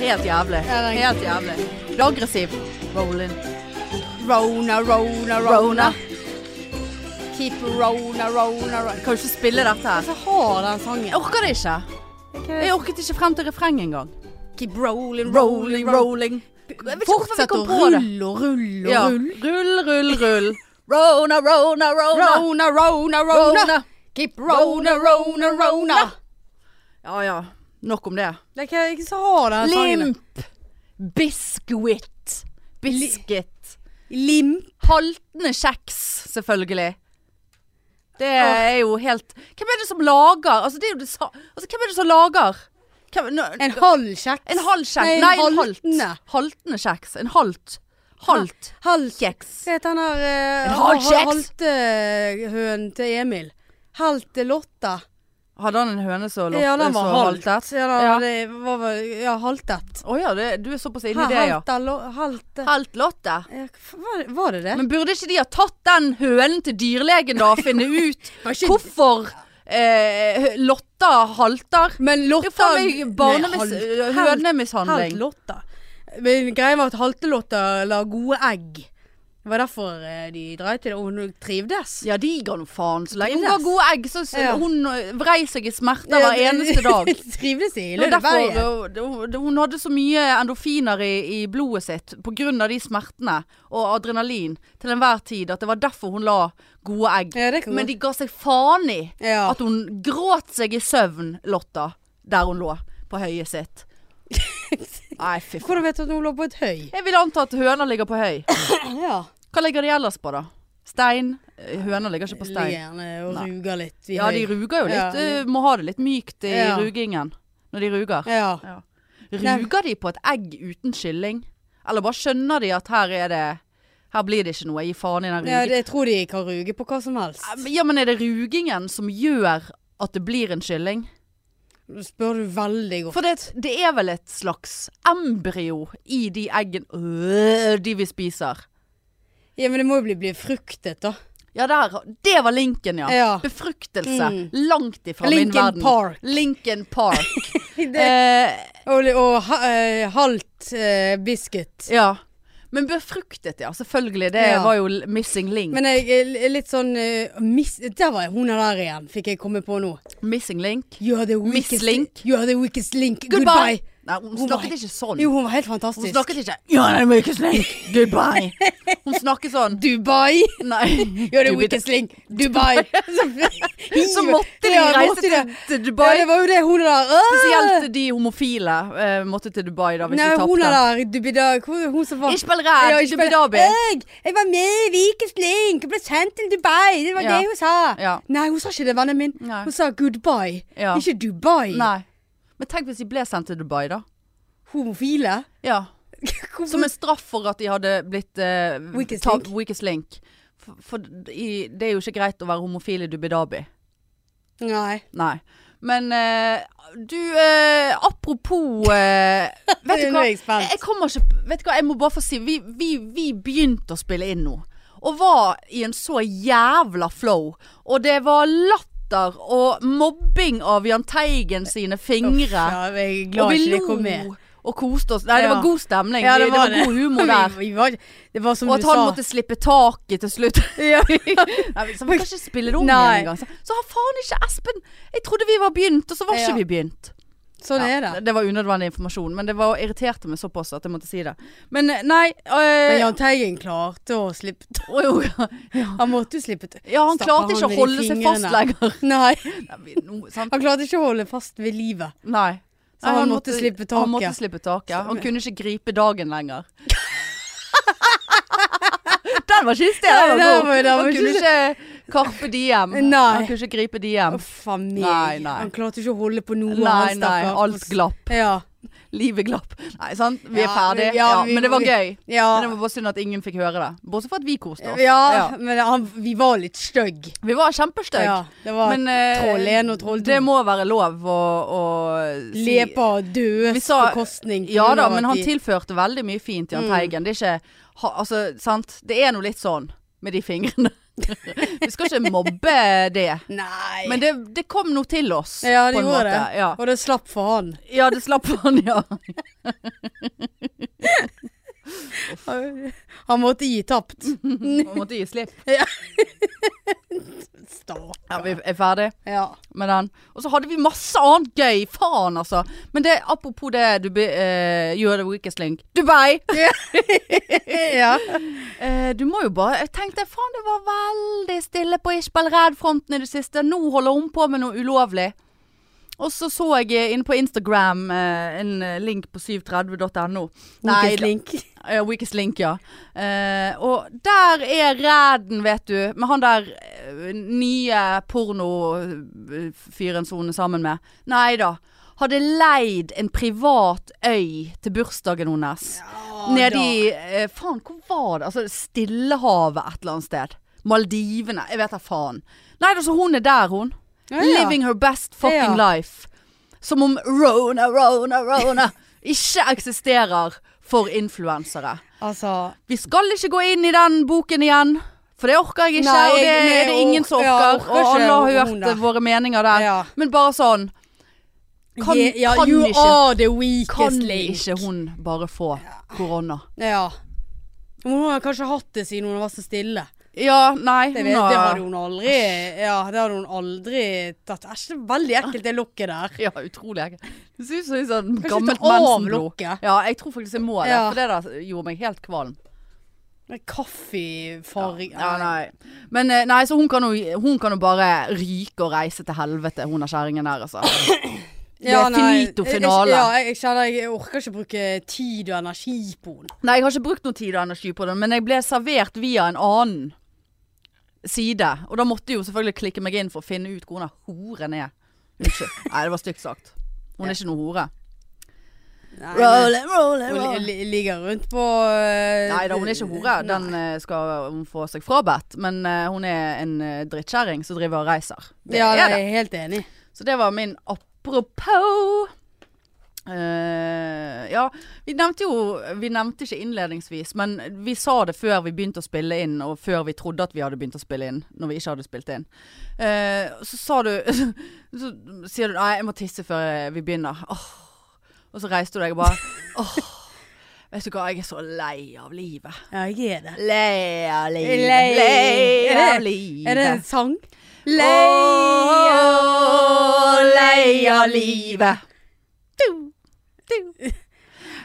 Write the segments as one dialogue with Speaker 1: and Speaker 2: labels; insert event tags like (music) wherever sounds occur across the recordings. Speaker 1: Helt jævlig.
Speaker 2: Ja, den-
Speaker 1: Helt jævlig. Det er aggressivt. Rollin.
Speaker 2: Rona, rona,
Speaker 1: Rona.
Speaker 2: rona. Keep rona, rona, rona.
Speaker 1: Jeg kan jo ikke spille dette her.
Speaker 2: Så har den sangen.
Speaker 1: Jeg orker det ikke. Jeg orket ikke frem til refrenget engang.
Speaker 2: Keep rolling,
Speaker 1: Rolling,
Speaker 2: rolling, rolling.
Speaker 1: rolling. Jeg vet ikke hvorfor vi
Speaker 2: Fortsett
Speaker 1: kom
Speaker 2: å
Speaker 1: på det.
Speaker 2: rulle og rulle
Speaker 1: Ja.
Speaker 2: og rulle.
Speaker 1: Rull, (laughs) rull, rull. Rona, rona, rona.
Speaker 2: Rona, rona, rona.
Speaker 1: Rona.
Speaker 2: Keep rona, rona, rona.
Speaker 1: Ja ja. Nok om det.
Speaker 2: Jeg kan ikke så ha den sangen.
Speaker 1: Limp. Biscuit. Biscuit.
Speaker 2: Limp.
Speaker 1: Haltende kjeks, selvfølgelig. Det er jo helt Hvem er det som lager? Altså, det er jo det sa... Altså, hvem er det som lager? Hvem... Nå...
Speaker 2: En halv kjeks.
Speaker 1: En halv kjeks.
Speaker 2: Nei,
Speaker 1: Nei,
Speaker 2: en
Speaker 1: en halt.
Speaker 2: haltende.
Speaker 1: Haltende kjeks. En halt. Halt.
Speaker 2: Halv
Speaker 1: Kjeks.
Speaker 2: Hva heter han der eh,
Speaker 1: En halv
Speaker 2: har-
Speaker 1: kjeks.
Speaker 2: Haltehøn til Emil. Halte Lotta.
Speaker 1: Hadde han en høne som lotte?
Speaker 2: ja, den var
Speaker 1: som
Speaker 2: halt.
Speaker 1: haltet?
Speaker 2: Ja, den,
Speaker 1: Ja.
Speaker 2: Det var, vel- ja, haltet.
Speaker 1: Å ja, det, du er såpass inne i det, ja.
Speaker 2: Halta, lo, halte.
Speaker 1: Halt Lotte.
Speaker 2: Ja, hva- Var, var det det?
Speaker 1: Men burde ikke de ha tatt den hønen til dyrlegen da, og (laughs) finne ut
Speaker 2: Var ikke-
Speaker 1: hvorfor eh, Lotta halter?
Speaker 2: Men
Speaker 1: Det
Speaker 2: Lotta
Speaker 1: er faen meg barnemis... eh,
Speaker 2: Nei, halt- Helt
Speaker 1: hønemishandling.
Speaker 2: Lotta. Men greia var at Haltelotta la gode egg. Det var derfor eh, de dreit i det. Og hun trivdes.
Speaker 1: Ja, de ga nå faen. Så lenge hun
Speaker 2: Trivdes.
Speaker 1: ga gode egg, så så
Speaker 2: Ja.
Speaker 1: hun eh, vrei seg i smerter hver eneste
Speaker 2: (laughs)
Speaker 1: (laughs) dag.
Speaker 2: trivdes i
Speaker 1: Det var derfor
Speaker 2: Lønneberget.
Speaker 1: hun- hun- hun hadde så mye endorfiner i, i blodet sitt pga. de smertene og adrenalin til enhver tid at det var derfor hun la gode egg.
Speaker 2: Ja, det kan
Speaker 1: Men
Speaker 2: godt.
Speaker 1: de ga seg faen i
Speaker 2: Ja.
Speaker 1: at hun gråt seg i søvn, Lotta, der hun lå på høyet sitt.
Speaker 2: (laughs)
Speaker 1: Nei, fy faen.
Speaker 2: Hvordan vet du at hun lå på et høy?
Speaker 1: Jeg vil anta at høner ligger på høy.
Speaker 2: Ja.
Speaker 1: Hva ligger de ellers på, da? Stein? Eh, Høner ligger ikke på
Speaker 2: Ligger
Speaker 1: stein.
Speaker 2: gjerne eh, og
Speaker 1: Nei.
Speaker 2: ruger litt. i
Speaker 1: Ja,
Speaker 2: høy.
Speaker 1: de ruger jo litt.
Speaker 2: Ja.
Speaker 1: eh, Må ha det litt mykt i
Speaker 2: Ja.
Speaker 1: rugingen når de ruger.
Speaker 2: Ja.
Speaker 1: Ja. Ruger de på et egg uten kylling? Eller bare skjønner de at her er det Her blir det ikke noe, gi faen i den
Speaker 2: ja
Speaker 1: rugingen.
Speaker 2: det, jeg tror de kan ruge på hva som
Speaker 1: Ja,
Speaker 2: helst.
Speaker 1: men- Ja, men er det rugingen som gjør at det blir en kylling?
Speaker 2: Nå spør du veldig godt.
Speaker 1: For det, det er vel et slags embryo i de eggene øh, De vi spiser.
Speaker 2: Ja, men det må jo bli, bli fruktet, da.
Speaker 1: Ja, der, det var linken, ja.
Speaker 2: Ja.
Speaker 1: Befruktelse.
Speaker 2: Mm.
Speaker 1: Langt ifra min
Speaker 2: Lincoln
Speaker 1: verden.
Speaker 2: Park.
Speaker 1: Lincoln Park.
Speaker 2: (laughs) Det-
Speaker 1: eh,
Speaker 2: og og ha, eh, halvt eh, biscuit.
Speaker 1: ja. Men befruktet, ja. Selvfølgelig. Det
Speaker 2: Ja.
Speaker 1: var jo l- missing link.
Speaker 2: Men jeg er litt sånn eh, mis, Der var jeg, hun er der igjen, fikk jeg komme på nå.
Speaker 1: missing link.
Speaker 2: You're the
Speaker 1: Miss
Speaker 2: weakest
Speaker 1: Link.
Speaker 2: You're the weakest link.
Speaker 1: Goodbye.
Speaker 2: Goodbye.
Speaker 1: Nei, hun
Speaker 2: Hun
Speaker 1: snakket
Speaker 2: var-
Speaker 1: ikke sånn.
Speaker 2: Jo, hun var helt
Speaker 1: Hun
Speaker 2: fantastisk.
Speaker 1: snakket ikke Ja, nei, men ikke
Speaker 2: (laughs)
Speaker 1: slik. Goodbye. Hun snakket sånn.
Speaker 2: Dubai.
Speaker 1: Nei.
Speaker 2: You're the
Speaker 1: Du vet-
Speaker 2: weakest link. Dubai.
Speaker 1: (laughs) Så måtte de
Speaker 2: (laughs) Ja,
Speaker 1: reise
Speaker 2: måtte de.
Speaker 1: til, til
Speaker 2: Ja,
Speaker 1: Dubai.
Speaker 2: det var jo det hun er der. Åh!
Speaker 1: Spesielt de homofile eh, måtte til Dubai da, hvis
Speaker 2: Nei,
Speaker 1: de
Speaker 2: hun er
Speaker 1: tapte.
Speaker 2: der. Dubida. Hvor- Hun som var
Speaker 1: Ishbel
Speaker 2: Ja, Eh!
Speaker 1: Ræd,
Speaker 2: Ishbel-
Speaker 1: Dubidabi.
Speaker 2: Jeg, jeg var med i Weakest Link. Jeg ble sendt til Dubai. Det var
Speaker 1: Ja.
Speaker 2: det hun sa.
Speaker 1: Ja.
Speaker 2: Nei, hun sa ikke det, vennen min.
Speaker 1: Nei.
Speaker 2: Hun sa goodbye.
Speaker 1: Ja.
Speaker 2: Ikke Dubai.
Speaker 1: Nei. Men tenk hvis de ble sendt til Dubai, da.
Speaker 2: Homofile.
Speaker 1: Ja.
Speaker 2: Hvorfor-
Speaker 1: Som en straff for at de hadde blitt eh,
Speaker 2: Weakest
Speaker 1: ta-
Speaker 2: link.
Speaker 1: weakest link. For, for i, det er jo ikke greit å være homofil i Dubidabi.
Speaker 2: Nei.
Speaker 1: Nei. Men eh, du, eh, apropos
Speaker 2: (laughs)
Speaker 1: eh, Vet du
Speaker 2: Nå
Speaker 1: hva?
Speaker 2: er jeg spent.
Speaker 1: Jeg kommer ikke Vet du hva, jeg må bare få si Vi, vi, vi begynte å spille inn nå. Og var i en så jævla flow. Og det var latter og mobbing av Jahn Teigen sine fingre.
Speaker 2: Ja, jeg er glad
Speaker 1: og vi
Speaker 2: ikke det
Speaker 1: lo
Speaker 2: kom med.
Speaker 1: og koste oss. Nei, det
Speaker 2: Ja.
Speaker 1: var god stemning.
Speaker 2: Ja,
Speaker 1: det, var god humor der.
Speaker 2: (laughs) Vi, vi var, det var som
Speaker 1: Og at
Speaker 2: du
Speaker 1: han
Speaker 2: sa.
Speaker 1: måtte slippe taket til slutt. (laughs)
Speaker 2: Ja.
Speaker 1: Nei, men så vi kan ikke spille det om
Speaker 2: Nei.
Speaker 1: igjen engang. Så- Så har faen ikke Espen Jeg trodde vi var begynt, og så var
Speaker 2: Ja.
Speaker 1: ikke vi begynt.
Speaker 2: Sånn
Speaker 1: Ja,
Speaker 2: er det.
Speaker 1: var unødvendig informasjon, men det var irriterte meg såpass at jeg måtte si det. Men eh, nei
Speaker 2: Men
Speaker 1: øh,
Speaker 2: Jahn Teigen klarte å slippe t-
Speaker 1: å, jo, ja.
Speaker 2: Han måtte jo slippe t-
Speaker 1: ja, han
Speaker 2: Stakkar,
Speaker 1: klarte ikke å
Speaker 2: med de
Speaker 1: holde seg fast
Speaker 2: fingrene.
Speaker 1: lenger.
Speaker 2: (laughs) Nei,
Speaker 1: Nei, vi- nå- sant?
Speaker 2: han klarte ikke å holde fast ved livet.
Speaker 1: Nei.
Speaker 2: Så
Speaker 1: Nei,
Speaker 2: han måtte slippe
Speaker 1: Han måtte
Speaker 2: taket.
Speaker 1: slippe taket. Han kunne ikke gripe dagen
Speaker 2: (laughs)
Speaker 1: lenger. Den var ikke i sted.
Speaker 2: Nei,
Speaker 1: Den
Speaker 2: den
Speaker 1: var
Speaker 2: var-
Speaker 1: god.
Speaker 2: den var
Speaker 1: Han kunne
Speaker 2: ikke-
Speaker 1: ikke karpe diem.
Speaker 2: Nei.
Speaker 1: Han kunne ikke gripe diem.
Speaker 2: Uff a meg.
Speaker 1: Nei, nei.
Speaker 2: Han klarte ikke å holde på noe.
Speaker 1: Nei,
Speaker 2: han
Speaker 1: nei.
Speaker 2: stakkar.
Speaker 1: Alt glapp.
Speaker 2: Ja.
Speaker 1: Livet glapp. Nei, sant. Vi er
Speaker 2: Ja,
Speaker 1: ferdig.
Speaker 2: vi- ja,
Speaker 1: Ja,
Speaker 2: vi-
Speaker 1: men det var
Speaker 2: vi-
Speaker 1: gøy.
Speaker 2: Ja.
Speaker 1: Men det var bare synd at ingen fikk høre det. Bortsett fra at vi koste oss.
Speaker 2: ja,
Speaker 1: Ja.
Speaker 2: men han, vi var litt stygg.
Speaker 1: Vi var kjempestygge.
Speaker 2: Ja, det var
Speaker 1: Men eh,
Speaker 2: troll 1 og troll 2.
Speaker 1: det må være lov å, å si
Speaker 2: Leper
Speaker 1: Vi
Speaker 2: dødes på
Speaker 1: sa-
Speaker 2: bekostning. på
Speaker 1: Ja
Speaker 2: grunn
Speaker 1: da,
Speaker 2: av
Speaker 1: men
Speaker 2: at
Speaker 1: han
Speaker 2: de-
Speaker 1: tilførte veldig mye fint til Jahn Teigen. Det er ikke ha, Altså, sant. Det er nå litt sånn med de fingrene. (laughs) Vi skal ikke mobbe det.
Speaker 2: Nei.
Speaker 1: Men det, det kom nå til oss.
Speaker 2: ja,
Speaker 1: på
Speaker 2: det
Speaker 1: en
Speaker 2: gjorde
Speaker 1: måte.
Speaker 2: det.
Speaker 1: Ja.
Speaker 2: Og det slapp for
Speaker 1: (laughs)
Speaker 2: han.
Speaker 1: ja, det slapp han, ja.
Speaker 2: Han måtte
Speaker 1: (laughs)
Speaker 2: gi tapt.
Speaker 1: Man måtte gi slipp. Ja,
Speaker 2: Stakkar.
Speaker 1: vi er ferdig
Speaker 2: Ja.
Speaker 1: (laughs) med den. Og så hadde vi masse annet gøy. Faen, altså. Men det, apropos det du be, eh, gjør det weakest link. Dubai!
Speaker 2: ja.
Speaker 1: Eh, du må jo bare Jeg tenkte faen, det var veldig stille på Ishbel Red-fronten i det siste. Nå holder hun på med noe ulovlig. Og så så jeg eh, inne på Instagram eh, en eh, link på 730.no. Nei,
Speaker 2: Hvilken link.
Speaker 1: Ja, weakest link, ja. Eh, og der er Ræden, vet du. Med han der eh, nye pornofyren som hun er sammen med. Nei da. Hadde leid en privat øy til bursdagen hennes.
Speaker 2: Ah,
Speaker 1: Nede i eh, Faen, hvor var det? Altså, Stillehavet et eller annet sted. Maldivene. Jeg vet da faen. Nei da, så hun er der, hun.
Speaker 2: Ja, ja.
Speaker 1: Living her best fucking
Speaker 2: Ja.
Speaker 1: life. Som om Rona, Rona,
Speaker 2: (laughs)
Speaker 1: Rona ikke eksisterer for influensere.
Speaker 2: Altså
Speaker 1: Vi skal ikke gå inn i den boken igjen, for det orker jeg ikke.
Speaker 2: Nei,
Speaker 1: og det
Speaker 2: jeg- nei,
Speaker 1: er det ingen som
Speaker 2: orker-
Speaker 1: orker.
Speaker 2: ja, orker
Speaker 1: og
Speaker 2: ikke
Speaker 1: alle har
Speaker 2: hun
Speaker 1: hørt
Speaker 2: der.
Speaker 1: eh, våre meninger der.
Speaker 2: Ja.
Speaker 1: Men bare sånn Kan,
Speaker 2: Je- ja,
Speaker 1: kan,
Speaker 2: You
Speaker 1: ikke,
Speaker 2: are the weakest
Speaker 1: kan
Speaker 2: link.
Speaker 1: ikke hun bare få korona?
Speaker 2: Ja. Hun har kanskje hatt det siden hun var så stille.
Speaker 1: Ja, nei.
Speaker 2: Det,
Speaker 1: Hun
Speaker 2: vet, det hadde
Speaker 1: har
Speaker 2: hun aldri Ja, det hadde hun aldri tatt. Æsj, det er veldig ekkelt det lokket der.
Speaker 1: (laughs) ja, utrolig. ekkelt. Det ser ut som et sånt
Speaker 2: Kanskje
Speaker 1: gammelt
Speaker 2: ta av
Speaker 1: mensenblod.
Speaker 2: lokket.
Speaker 1: Ja, jeg tror faktisk jeg må det.
Speaker 2: Ja.
Speaker 1: For det der gjorde meg helt kvalm.
Speaker 2: Med Kaffefarge
Speaker 1: Ja, nei. Men eh, nei, så hun kan, jo, hun kan jo bare ryke og reise til helvete, hun er kjerringen der, (clears throat) altså. Det er
Speaker 2: nei,
Speaker 1: finito
Speaker 2: jeg- jeg-
Speaker 1: finale.
Speaker 2: Ja, jeg, jeg kjenner jeg orker ikke bruke tid og energi på henne.
Speaker 1: Nei, jeg har ikke brukt noe tid og energi på det, men jeg ble servert via en annen side. Og da måtte jeg jo selvfølgelig klikke meg inn for å finne ut hvor den horen er. Unnskyld. Nei, det var stygt sagt. Hun er ikke noe hore.
Speaker 2: Nei, men-
Speaker 1: Rolling, rolling,
Speaker 2: Hun li-
Speaker 1: rolling.
Speaker 2: li- ligger rundt på eh,
Speaker 1: Nei da, hun er ikke hore. Den eh, skal hun få seg frabedt. Men eh, hun er en eh, drittkjerring som driver og reiser. Det
Speaker 2: Ja,
Speaker 1: er
Speaker 2: nei,
Speaker 1: det.
Speaker 2: jeg er helt enig.
Speaker 1: Så det var min apropos. Eh, ja, vi nevnte jo Vi nevnte ikke innledningsvis, men vi sa det før vi begynte å spille inn, og før vi trodde at vi hadde begynt å spille inn, når vi ikke hadde spilt inn. Eh, så sa du (laughs) Så sier du 'nei, jeg må tisse før eh, vi begynner'. Åh. Og så reiste du deg og
Speaker 2: (laughs)
Speaker 1: bare Åh, vet du hva, jeg er så lei av livet.
Speaker 2: Ja, jeg er det.
Speaker 1: Lei av livet.
Speaker 2: Lei.
Speaker 1: Lei
Speaker 2: Er
Speaker 1: av
Speaker 2: det-
Speaker 1: livet.
Speaker 2: Er det en sang?
Speaker 1: Lei, lei av livet. Du, du.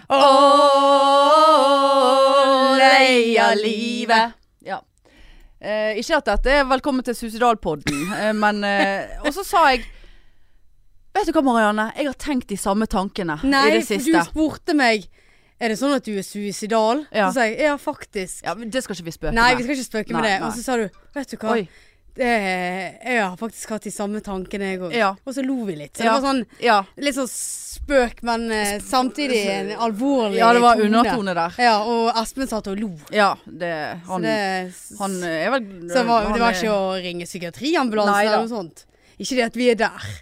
Speaker 1: Å, lei av livet. Ja. Eh, ikke at dette er velkommen til Suicidalpodden, eh, men eh, Og så sa jeg Vet du hva, Marianne? Jeg har tenkt de samme tankene i
Speaker 2: Nei,
Speaker 1: det
Speaker 2: for
Speaker 1: siste.
Speaker 2: du spurte meg Er det sånn at du er suicidal?
Speaker 1: Ja.
Speaker 2: Så sa jeg ja, faktisk.
Speaker 1: Ja, men det skal ikke vi spøke
Speaker 2: Nei, vi
Speaker 1: med.
Speaker 2: skal ikke spøke med
Speaker 1: Nei,
Speaker 2: det. Og
Speaker 1: nei.
Speaker 2: så sa du Vet du hva,
Speaker 1: Oi.
Speaker 2: det, jeg har faktisk hatt de samme tankene, jeg òg.
Speaker 1: Ja.
Speaker 2: Og så lo vi litt. Så
Speaker 1: Ja.
Speaker 2: det var sånn
Speaker 1: Ja.
Speaker 2: Litt sånn spøk, men eh, samtidig en alvorlig
Speaker 1: ja, det var
Speaker 2: tone.
Speaker 1: undertone der.
Speaker 2: Ja, og Espen satt og lo.
Speaker 1: Ja, det
Speaker 2: Så
Speaker 1: Han,
Speaker 2: det,
Speaker 1: han eh, er vel
Speaker 2: så det var,
Speaker 1: han
Speaker 2: det var
Speaker 1: er-
Speaker 2: ikke å ringe psykiatriambulansen
Speaker 1: Nei da.
Speaker 2: eller noe sånt. Ikke det at vi er der.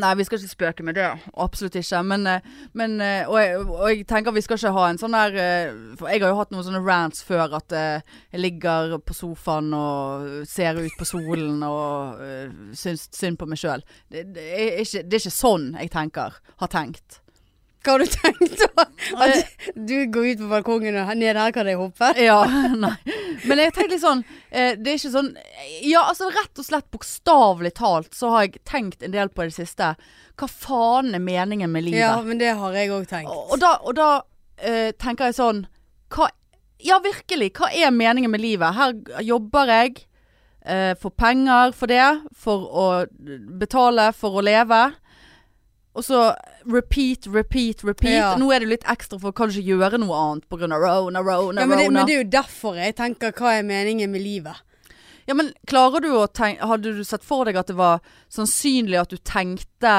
Speaker 1: Nei, vi skal ikke spøke med det. Absolutt ikke. Men, eh, men eh, og, jeg, og jeg tenker vi skal ikke ha en sånn der eh, For jeg har jo hatt noen sånne rants før at eh, jeg ligger på sofaen og ser ut på solen og eh, syns synd på meg sjøl. Det, det, er ikke- det er ikke sånn jeg tenker. Har tenkt.
Speaker 2: Hva har du tenkt da? At du går ut på balkongen og ned her kan jeg hoppe?
Speaker 1: Ja, (laughs) nei. Men jeg tenkte litt sånn eh, Det er ikke sånn Ja, altså rett og slett bokstavelig talt så har jeg tenkt en del på det siste. Hva faen er meningen med livet?
Speaker 2: Ja, men det har jeg òg tenkt.
Speaker 1: Og og da, og da eh, tenker jeg sånn hva, Ja, virkelig. Hva er meningen med livet? Her g- jobber jeg. eh, får penger for det. For å betale for å leve. Og så repeat, repeat, repeat.
Speaker 2: Ja.
Speaker 1: Nå er det litt ekstra for å kanskje gjøre noe annet pga. rona, rona,
Speaker 2: ja, men, det,
Speaker 1: rona.
Speaker 2: men det er jo derfor jeg tenker hva er meningen med livet?
Speaker 1: Ja, men klarer du å tenke Hadde du sett for deg at det var sannsynlig at du tenkte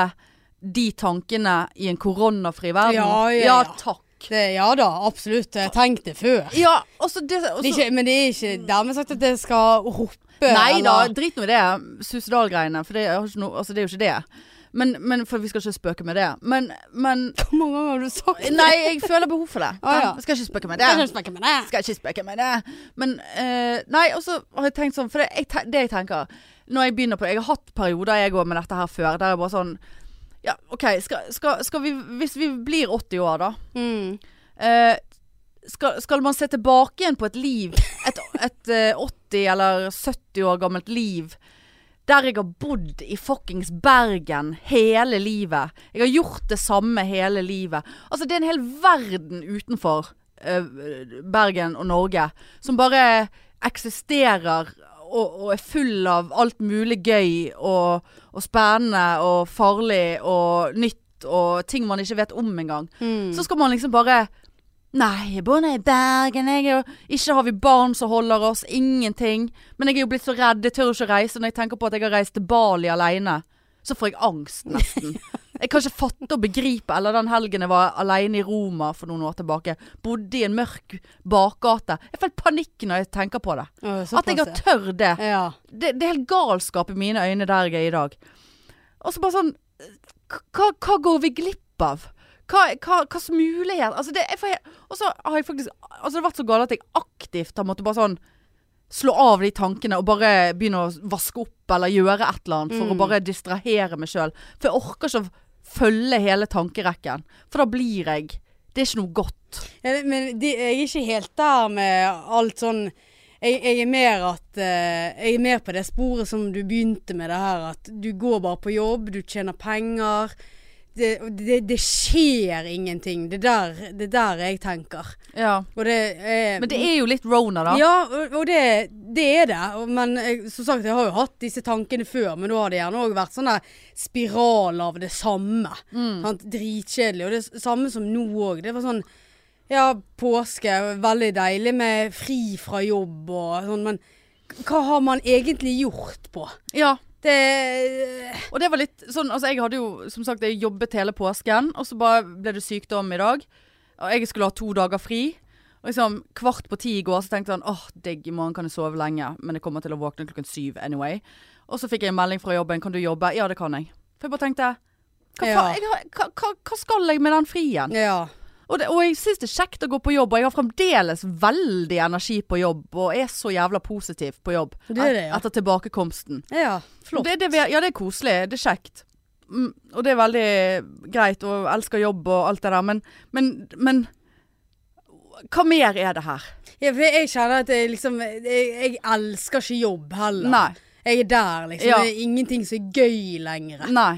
Speaker 1: de tankene i en koronafri verden?
Speaker 2: Ja, ja,
Speaker 1: ja
Speaker 2: ja.
Speaker 1: takk.
Speaker 2: Det, ja da, absolutt. Jeg har tenkt det før.
Speaker 1: Ja, og så det, og
Speaker 2: altså Det er
Speaker 1: så-
Speaker 2: ikke, men det er ikke
Speaker 1: Mm.
Speaker 2: dermed sagt at jeg skal hoppe
Speaker 1: Nei da,
Speaker 2: eller
Speaker 1: drit nå i det. Suicidal-greiene. For det er, jo ikke noe, altså, det er jo ikke det. Men, men For vi skal ikke spøke med det. Men, men
Speaker 2: (laughs) Hvor mange ganger har du sagt det?
Speaker 1: Nei, jeg føler behov for det.
Speaker 2: Å, ja.
Speaker 1: Jeg skal ikke spøke med
Speaker 2: Jeg kan
Speaker 1: det.
Speaker 2: ikke snakke med deg.
Speaker 1: Skal ikke spøke med det. Men eh, Nei, og så har jeg tenkt sånn For det jeg, te- det jeg tenker Når jeg begynner på det Jeg har hatt perioder jeg går med dette her før der jeg bare sånn Ja, OK, skal, skal, skal vi Hvis vi blir 80 år, da.
Speaker 2: Mm.
Speaker 1: Eh, skal, skal man se tilbake igjen på et liv, et, et eh, 80 eller 70 år gammelt liv, der jeg har bodd i fuckings Bergen hele livet. Jeg har gjort det samme hele livet. Altså, det er en hel verden utenfor eh, Bergen og Norge som bare eksisterer og, og er full av alt mulig gøy og, og spennende og farlig og nytt og ting man ikke vet om engang.
Speaker 2: Mm.
Speaker 1: Så skal man liksom bare Nei, jeg bor nede i Bergen. Jeg er jo, ikke har vi barn som holder oss. Ingenting. Men jeg er jo blitt så redd. Jeg tør ikke å reise. Når jeg tenker på at jeg har reist til Bali alene, så får jeg angst,
Speaker 2: (laughs)
Speaker 1: nesten. Jeg kan ikke fatte og begripe. Eller den helgen jeg var alene i Roma for noen år tilbake. Bodde i en mørk bakgate. Jeg får helt panikk når jeg tenker på det.
Speaker 2: Å, såpass,
Speaker 1: At jeg har tør det
Speaker 2: ja.
Speaker 1: det, det er helt galskap i mine øyne der jeg er i dag. Og så bare sånn k- Hva, hva går vi glipp av? Hva slags mulighet altså det, jeg får helt- Og så har jeg faktisk altså Det har vært så galt at jeg aktivt har måttet bare sånn Slå av de tankene og bare begynne å vaske opp eller gjøre et eller annet for å
Speaker 2: Mm.
Speaker 1: bare distrahere meg sjøl. For jeg orker ikke å følge hele tankerekken. For da blir jeg Det er ikke noe godt.
Speaker 2: Ja, det- men de, jeg er ikke helt der med alt sånn jeg, jeg er mer at eh, Jeg er mer på det sporet som du begynte med det her, at du går bare på jobb, du tjener penger. Det, det, det skjer ingenting. Det er der, det er der jeg tenker. Og det er
Speaker 1: Men det er jo litt Rona, da.
Speaker 2: Ja, og, og det, det er det. Og- Men jeg, som sagt, jeg har jo hatt disse tankene før, men da har det gjerne òg vært sånn der spiral av det samme.
Speaker 1: Mm.
Speaker 2: Sant? Dritkjedelig. Og det s- samme som nå òg. Det var sånn Ja, påske, veldig deilig med fri fra jobb og sånn, men k- hva har man egentlig gjort på? eh,
Speaker 1: Ja.
Speaker 2: Det
Speaker 1: Og det var litt sånn, altså jeg hadde jo som sagt jeg jobbet hele påsken, og så bare ble det sykdom i dag. Og jeg skulle ha to dager fri. Og liksom kvart på ti i går så tenkte jeg sånn åh, digg, i morgen kan jeg sove lenge, men jeg kommer til å våkne klokken syv anyway. Og så fikk jeg en melding fra jobben, kan du jobbe? Ja, det kan jeg. For jeg bare tenkte hva,
Speaker 2: Ja.
Speaker 1: faen, jeg, har- hva, hva, hva skal jeg med den frien?
Speaker 2: Ja.
Speaker 1: Og, det, og jeg syns det er kjekt å gå på jobb, og jeg har fremdeles veldig energi på jobb, og er så jævla positiv på jobb
Speaker 2: Det er det, ja.
Speaker 1: etter tilbakekomsten.
Speaker 2: ja. Flott.
Speaker 1: Det, er det vi, ja, det er koselig. Det er kjekt. Mm, og det er veldig greit, og elsker jobb og alt det der, men, men, men hva mer er det her?
Speaker 2: Ja, for jeg kjenner at jeg liksom Jeg, jeg elsker ikke jobb heller.
Speaker 1: Nei.
Speaker 2: Jeg er der, liksom.
Speaker 1: Ja.
Speaker 2: Det er ingenting som er gøy lenger.
Speaker 1: Nei.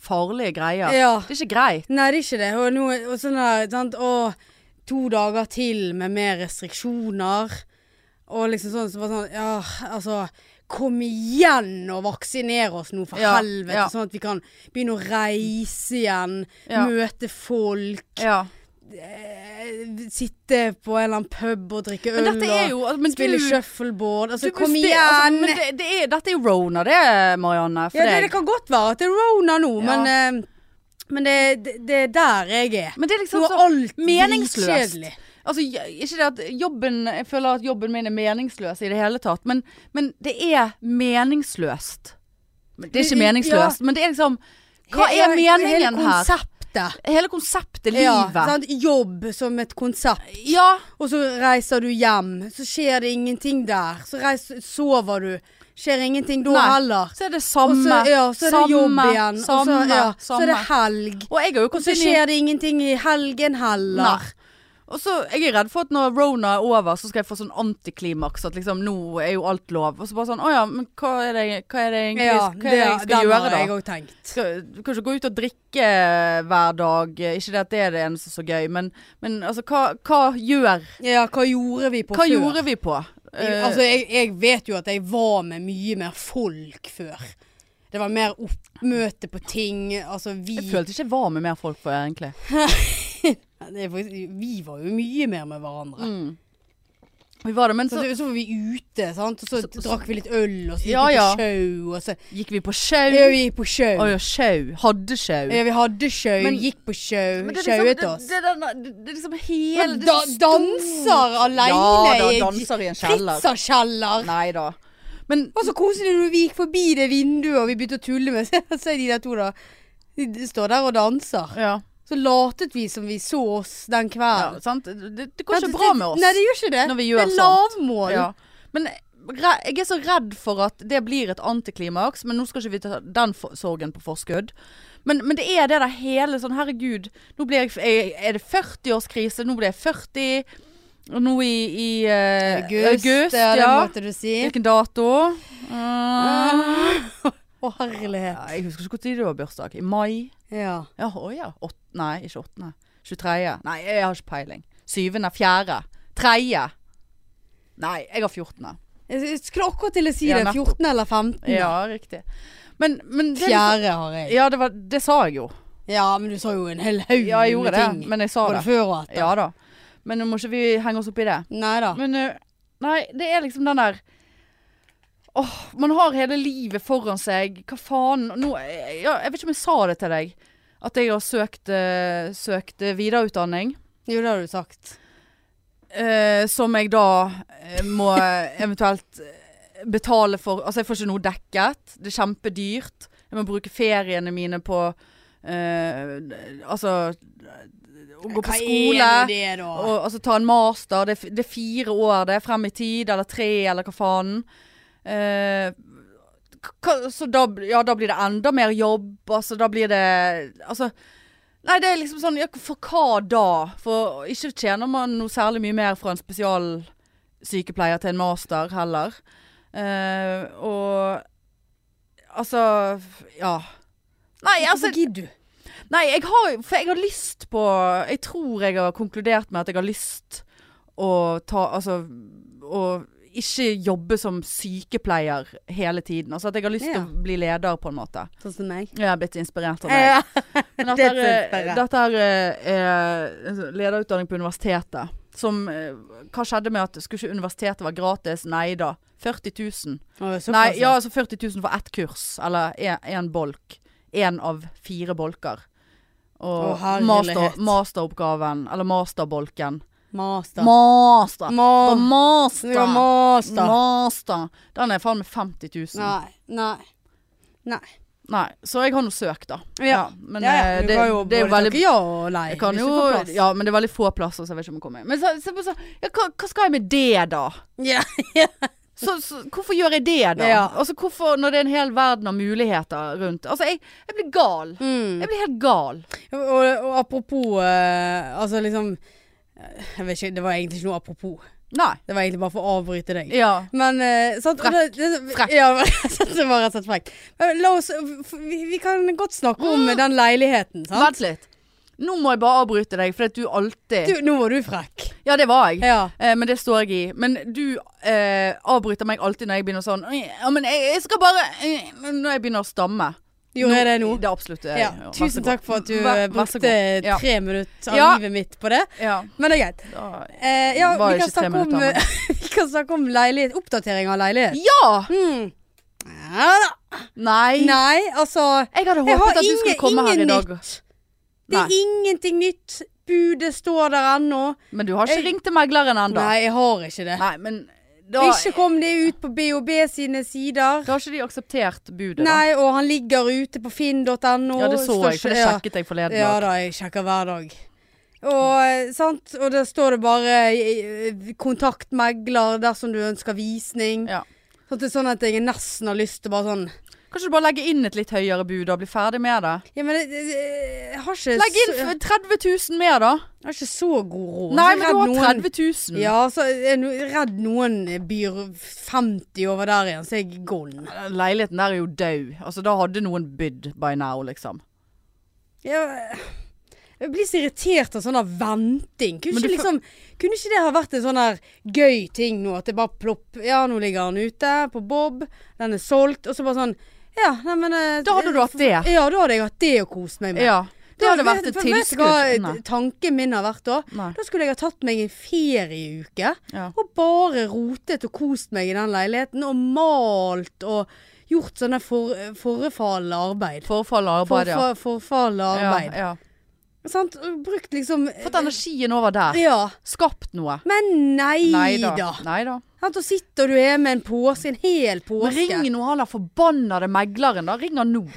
Speaker 1: Farlige greier.
Speaker 2: Ja.
Speaker 1: Det er ikke greit.
Speaker 2: Nei, det er ikke det. Og, nå, og sånn der, sant? Og to dager til med mer restriksjoner. Og liksom sånn, så bare sånn Ja, altså Kom igjen og vaksiner oss nå, for
Speaker 1: Ja,
Speaker 2: helvete.
Speaker 1: ja.
Speaker 2: Sånn at vi kan begynne å reise igjen.
Speaker 1: Ja.
Speaker 2: Møte folk.
Speaker 1: Ja.
Speaker 2: eh, Sitte på en eller annen pub og drikke øl
Speaker 1: Men dette er
Speaker 2: og
Speaker 1: jo men
Speaker 2: spille
Speaker 1: du-
Speaker 2: shuffleboard.
Speaker 1: du
Speaker 2: Altså, kom
Speaker 1: besti-
Speaker 2: igjen!
Speaker 1: altså, men det, det er, dette er jo Rona, det, Marianne. For
Speaker 2: ja, det,
Speaker 1: deg.
Speaker 2: det kan godt være at det er Rona nå,
Speaker 1: Ja.
Speaker 2: men, eh, men det, det, det er der jeg er.
Speaker 1: Men det er liksom
Speaker 2: Nå er
Speaker 1: så
Speaker 2: alt
Speaker 1: meningsløst.
Speaker 2: dritkjedelig.
Speaker 1: Altså, j- ikke det at jobben Jeg føler at jobben min er meningsløs i det hele tatt, men, men det er meningsløst. Men det er ikke
Speaker 2: Ja.
Speaker 1: meningsløst, men det er liksom Hva
Speaker 2: He- ja,
Speaker 1: er meningen
Speaker 2: hele
Speaker 1: her?
Speaker 2: konseptet.
Speaker 1: Hele konseptet
Speaker 2: Ja,
Speaker 1: livet.
Speaker 2: sant? Jobb som et konsept.
Speaker 1: Ja,
Speaker 2: Og så reiser du hjem, så skjer det ingenting der. Så reiser, sover du. Skjer ingenting da
Speaker 1: Nei.
Speaker 2: heller.
Speaker 1: så er det
Speaker 2: Og
Speaker 1: samme.
Speaker 2: så, ja, så er det
Speaker 1: samme,
Speaker 2: jobb igjen. og
Speaker 1: Samme,
Speaker 2: så, ja, så
Speaker 1: samme.
Speaker 2: er det helg.
Speaker 1: og jeg har jo
Speaker 2: Og så
Speaker 1: kommet inn i
Speaker 2: skjer det ingenting i helgen heller.
Speaker 1: Nei. Og så, Jeg er redd for at når rona er over, så skal jeg få sånn antiklimaks. At liksom nå er jo alt lov. Og så bare sånn Å ja, men hva er det, hva er det egentlig
Speaker 2: Ja,
Speaker 1: hva er det jeg skal
Speaker 2: den
Speaker 1: gjøre,
Speaker 2: har
Speaker 1: da?
Speaker 2: jeg òg tenkt.
Speaker 1: skal, du kan ikke gå ut og drikke hver dag. Ikke det at det er det eneste som er gøy, men, men altså, hva, hva gjør
Speaker 2: Ja, hva gjorde vi på
Speaker 1: Hva
Speaker 2: før?
Speaker 1: gjorde vi på?
Speaker 2: Jeg-
Speaker 1: Eh,
Speaker 2: altså, jeg, jeg vet jo at jeg var med mye mer folk før. Det var mer oppmøte på ting. Altså, vi
Speaker 1: jeg følte ikke jeg var med mer folk på, egentlig.
Speaker 2: det er faktisk, Vi var jo mye mer med hverandre.
Speaker 1: Mm. Vi var det, men
Speaker 2: Så,
Speaker 1: så
Speaker 2: så, var vi ute, sant? og så,
Speaker 1: Så- så-
Speaker 2: drakk vi litt øl, og så gikk
Speaker 1: Ja,
Speaker 2: vi
Speaker 1: ja.
Speaker 2: på sjau. Og så
Speaker 1: gikk vi på sjau.
Speaker 2: ja, vi gikk på sjau.
Speaker 1: Å ja, sjau. Hadde sjau.
Speaker 2: Ja, vi hadde sjau,
Speaker 1: Men-
Speaker 2: gikk på sjau,
Speaker 1: Men det er
Speaker 2: sjauet
Speaker 1: liksom,
Speaker 2: oss.
Speaker 1: det, det, det, det, det er liksom hele det
Speaker 2: da,
Speaker 1: store-
Speaker 2: danser
Speaker 1: Ja
Speaker 2: aleine
Speaker 1: da,
Speaker 2: i en
Speaker 1: danser i en kjeller.
Speaker 2: pizzakjeller.
Speaker 1: Nei da. Men
Speaker 2: Det var så koselig når vi gikk forbi det vinduet og vi begynte å tulle med (laughs) Se se de der to, da. De står der og danser.
Speaker 1: ja,
Speaker 2: Så latet vi som vi så oss
Speaker 1: ja
Speaker 2: den kvelden.
Speaker 1: sant. Det, det går
Speaker 2: Rett
Speaker 1: ikke
Speaker 2: og
Speaker 1: bra
Speaker 2: slett-
Speaker 1: med oss.
Speaker 2: Nei, det gjør ikke det.
Speaker 1: når vi gjør
Speaker 2: det er
Speaker 1: sånt.
Speaker 2: lavmål.
Speaker 1: Ja. Men re- jeg er så redd for at det blir et antiklimaks, men nå skal ikke vi ta den for sorgen på forskudd. Men, men det er det der hele sånn Herregud, nå blir jeg, jeg Er det 40-årskrise? Nå blir jeg 40. Og nå i, i eh,
Speaker 2: August, ja, det måtte du si.
Speaker 1: Hvilken dato?
Speaker 2: Ah.
Speaker 1: Eh,
Speaker 2: (laughs) Å, herlighet.
Speaker 1: ja, jeg husker ikke når det var bursdag. I mai?
Speaker 2: Ja.
Speaker 1: Ja, å ja. Ått, nei, ikke 8. 23. Nei, jeg har ikke peiling. 7. 4. 3. Nei, jeg har 14.
Speaker 2: Jeg jeg skulle akkurat til å si
Speaker 1: Ja,
Speaker 2: det.
Speaker 1: nettopp.
Speaker 2: 14 eller 15.
Speaker 1: Ja, riktig. Men, men det, liksom- sånn-
Speaker 2: Fjerde har jeg.
Speaker 1: Ja, det, var, det sa jeg jo.
Speaker 2: Ja, men du sa jo en hel haug
Speaker 1: Ja, jeg gjorde
Speaker 2: med
Speaker 1: det,
Speaker 2: ting.
Speaker 1: men jeg sa
Speaker 2: Både
Speaker 1: det.
Speaker 2: før og etter.
Speaker 1: Ja da. Men nå må ikke vi henge oss opp i det.
Speaker 2: Nei da.
Speaker 1: Men eh, nei, det er liksom den der Åh, man har hele livet foran seg. Hva faen? Nå, jeg, ja, jeg vet ikke om jeg sa det til deg. At jeg har søkt, eh, søkt eh, videreutdanning.
Speaker 2: Jo, det har du sagt.
Speaker 1: eh, som jeg da eh, må eventuelt eh, betale for Altså, jeg får ikke noe dekket. Det er kjempedyrt. Jeg må bruke feriene mine på eh, Altså å Gå på skole.
Speaker 2: nå det, da?
Speaker 1: Og, altså ta en master. Det, er f- det er fire år det. er Frem i tid, eller tre, eller hva faen. Eh, k- hva- så da, bl- ja, da blir det enda mer jobb. Altså, da blir det Altså Nei, det er liksom sånn ja, For hva da? For ikke tjener man noe særlig mye mer fra en spesialsykepleier til en master heller. Eh, og Altså Ja. Nei, altså
Speaker 2: Hvorfor gidder du?
Speaker 1: Nei, jeg har, for jeg har lyst på Jeg tror jeg har konkludert med at jeg har lyst å ta Altså å ikke jobbe som sykepleier hele tiden. Altså at jeg har lyst til
Speaker 2: Ja.
Speaker 1: å bli leder, på en måte.
Speaker 2: Sånn som meg?
Speaker 1: Jeg er blitt inspirert av det.
Speaker 2: Ja.
Speaker 1: Men
Speaker 2: Det
Speaker 1: dette,
Speaker 2: syns
Speaker 1: er,
Speaker 2: jeg.
Speaker 1: dette er, eh, er en sånn lederutdanning på universitetet. Som eh, Hva skjedde med at skulle ikke universitetet være gratis? Nei da. 40 000. Nei, ja, altså 40 000 for ett kurs. Eller én bolk. Én av fire bolker.
Speaker 2: Å,
Speaker 1: Og
Speaker 2: herlighet.
Speaker 1: master, masteroppgaven, eller masterbolken.
Speaker 2: Master.
Speaker 1: Master! På
Speaker 2: Ma-
Speaker 1: master!
Speaker 2: Ja, master.
Speaker 1: Master. Den er faen meg 50 000.
Speaker 2: Nei. Nei. Nei.
Speaker 1: Nei, så jeg har nå søkt, da.
Speaker 2: Ja.
Speaker 1: men
Speaker 2: ja, ja.
Speaker 1: eh,
Speaker 2: Du
Speaker 1: det,
Speaker 2: kan jo
Speaker 1: det er jo
Speaker 2: både
Speaker 1: veldig
Speaker 2: takke ja og nei.
Speaker 1: jeg kan
Speaker 2: hvis
Speaker 1: jo,
Speaker 2: du får plass.
Speaker 1: ja, men det er veldig få plasser, så jeg vet ikke om jeg kommer. Men så, så, så, ja, hva, hva skal jeg med det, da?
Speaker 2: Ja.
Speaker 1: Så, så, hvorfor gjør jeg det, da?
Speaker 2: Ja.
Speaker 1: Altså, hvorfor, når det er en hel verden av muligheter rundt Altså, jeg, jeg blir gal.
Speaker 2: Mm.
Speaker 1: Jeg blir helt gal.
Speaker 2: (laughs) Og, og apropos eh, Altså liksom eh, Jeg vet ikke, det var egentlig ikke noe apropos.
Speaker 1: Nei.
Speaker 2: Det var egentlig bare for å avbryte deg.
Speaker 1: Ja.
Speaker 2: Men eh, sant,
Speaker 1: Frekk.
Speaker 2: og Det, det,
Speaker 1: Frekk.
Speaker 2: Ja, (laughs) sant, det var rett og slett frekk. Men la oss f- Vi, vi kan godt snakke om
Speaker 1: Mm.
Speaker 2: den leiligheten, sant?
Speaker 1: Vent litt. Nå må jeg bare avbryte deg, for at du alltid
Speaker 2: Du, nå var du frekk.
Speaker 1: Ja, det var jeg.
Speaker 2: Ja.
Speaker 1: Eh, men det står jeg i. Men du eh, avbryter meg alltid når jeg begynner sånn Ja, men jeg, jeg skal bare eh, Når jeg begynner å stamme.
Speaker 2: Gjorde jeg det nå?
Speaker 1: Det er absolutt eh,
Speaker 2: Ja.
Speaker 1: vær så
Speaker 2: Tusen
Speaker 1: god.
Speaker 2: takk for at du
Speaker 1: Vær-
Speaker 2: eh,
Speaker 1: vær så
Speaker 2: brukte
Speaker 1: god. Ja.
Speaker 2: tre minutter av
Speaker 1: Ja.
Speaker 2: livet mitt på det.
Speaker 1: Ja.
Speaker 2: Men det er greit.
Speaker 1: Da-
Speaker 2: Eh, ja,
Speaker 1: Var
Speaker 2: vi kan,
Speaker 1: ikke tre
Speaker 2: snakke om,
Speaker 1: minutter, men-
Speaker 2: (laughs) vi kan snakke om leilighet. Oppdatering av leilighet.
Speaker 1: ja!
Speaker 2: Hmm. Ja da.
Speaker 1: Nei.
Speaker 2: Nei, altså
Speaker 1: Jeg hadde
Speaker 2: Jeg
Speaker 1: håpet at
Speaker 2: har
Speaker 1: du skulle
Speaker 2: ingen-
Speaker 1: komme her i
Speaker 2: ingen
Speaker 1: dag.
Speaker 2: Det er
Speaker 1: Nei.
Speaker 2: ingenting nytt. Budet står der ennå.
Speaker 1: Men du har ikke
Speaker 2: Jeg-
Speaker 1: ringt til megleren ennå.
Speaker 2: Nei, jeg har ikke det.
Speaker 1: Nei, men da,
Speaker 2: Ikke kom det ut på BOB sine sider.
Speaker 1: da har ikke de akseptert budet, da.
Speaker 2: Nei, og han ligger ute på finn.no.
Speaker 1: Ja, det så jeg, for det sjekket jeg
Speaker 2: Ja,
Speaker 1: forleden. dag.
Speaker 2: ja da, jeg sjekker hver dag. Og, eh, sant? og da står det bare eh, 'kontakt megler dersom du ønsker visning'.
Speaker 1: Ja.
Speaker 2: Sånn at det er sånn at jeg nesten har lyst til bare sånn
Speaker 1: Kanskje du bare legger inn et litt høyere bud og blir ferdig med det?
Speaker 2: Ja, men jeg, jeg, jeg har ikke
Speaker 1: Legg inn
Speaker 2: så,
Speaker 1: f- 30 000 mer, da.
Speaker 2: Jeg har ikke så god råd.
Speaker 1: Nei,
Speaker 2: Så
Speaker 1: men
Speaker 2: redd
Speaker 1: du har
Speaker 2: noen-
Speaker 1: 30 000.
Speaker 2: Ja, så er jeg no- redd noen byr 50 over der igjen, så er jeg gone.
Speaker 1: Den Leiligheten der er jo død. Altså, da hadde noen bydd by now, liksom.
Speaker 2: Jeg, jeg blir så irritert av sånn der venting. Kunne
Speaker 1: Men du
Speaker 2: ikke, liksom, kunne ikke det ha vært en sånn der gøy ting nå? At det bare plopp Ja, nå ligger han ute på Bob, den er solgt, og så bare sånn Ja, neimen
Speaker 1: Da hadde du hatt det.
Speaker 2: Ja, da hadde jeg hatt det å kose meg med.
Speaker 1: Ja. Det hadde vært et
Speaker 2: Vet- Vet du hva
Speaker 1: tilskudd. Nei.
Speaker 2: tanken min har vært da?
Speaker 1: Nei.
Speaker 2: Da skulle jeg ha tatt meg en ferieuke
Speaker 1: Ja.
Speaker 2: og bare rotet og kost meg i den leiligheten og malt og gjort sånne for, forefallende arbeid.
Speaker 1: Forfall og arbeid, ja.
Speaker 2: Forfa- forfallende
Speaker 1: Ja,
Speaker 2: arbeid.
Speaker 1: ja.
Speaker 2: Sant? Brukt liksom
Speaker 1: Fått energien over der.
Speaker 2: Ja.
Speaker 1: Skapt noe.
Speaker 2: Men nei,
Speaker 1: Neida.
Speaker 2: da.
Speaker 1: Neida.
Speaker 2: Sant? Og sitter du her med en påske, en hel
Speaker 1: Men
Speaker 2: påske.
Speaker 1: ring nå han der forbannede megleren, da. Ring han nå.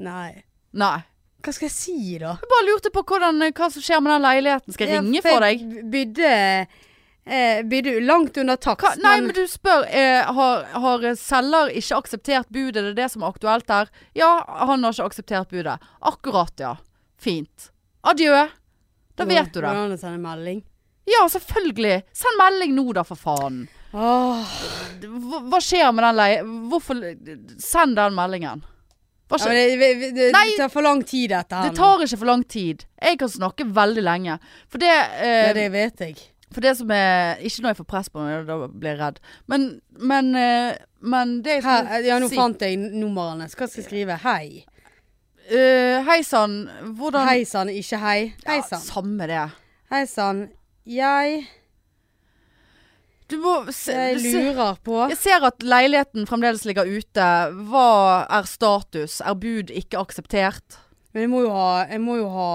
Speaker 2: Nei.
Speaker 1: Nei.
Speaker 2: Hva skal jeg si, da?
Speaker 1: Jeg bare lurte på hvordan, eh, hva som skjer med den leiligheten. Skal jeg ringe for deg?
Speaker 2: Bydde eh, Bydde langt under
Speaker 1: Hva?
Speaker 2: takst,
Speaker 1: Nei, men du spør eh, har, har selger ikke akseptert budet? Det er det som er aktuelt her. Ja, han har ikke akseptert budet. Akkurat, ja. Fint. Adjø. Da vet du det.
Speaker 2: Hvordan å sende melding?
Speaker 1: Ja, selvfølgelig. Send melding nå, da, for faen.
Speaker 2: Åh.
Speaker 1: Hva, hva skjer med den leie... Hvorfor Send den meldingen. Hva
Speaker 2: Ja,
Speaker 1: skjer?
Speaker 2: men det, vi- vi- det,
Speaker 1: Nei.
Speaker 2: det tar for lang tid, dette her.
Speaker 1: Det
Speaker 2: nå.
Speaker 1: tar ikke for lang tid. Jeg kan snakke veldig lenge. For det,
Speaker 2: Ja,
Speaker 1: eh,
Speaker 2: det vet jeg.
Speaker 1: For det som er Ikke når jeg får press på meg, da blir jeg redd. Men, men, eh, men det jeg
Speaker 2: Her, ja, nå
Speaker 1: si-
Speaker 2: fant jeg numrene. Hva skal jeg skrive? Hei.
Speaker 1: Eh, Hei sann, hvordan
Speaker 2: Hei sann, ikke hei. Hei
Speaker 1: Ja,
Speaker 2: sann.
Speaker 1: samme det.
Speaker 2: Hei sann. Jeg,
Speaker 1: Du må se,
Speaker 2: jeg
Speaker 1: se,
Speaker 2: lurer på
Speaker 1: Jeg ser at leiligheten fremdeles ligger ute. Hva er status? Er bud ikke akseptert?
Speaker 2: Men jeg må jo ha Jeg må jo ha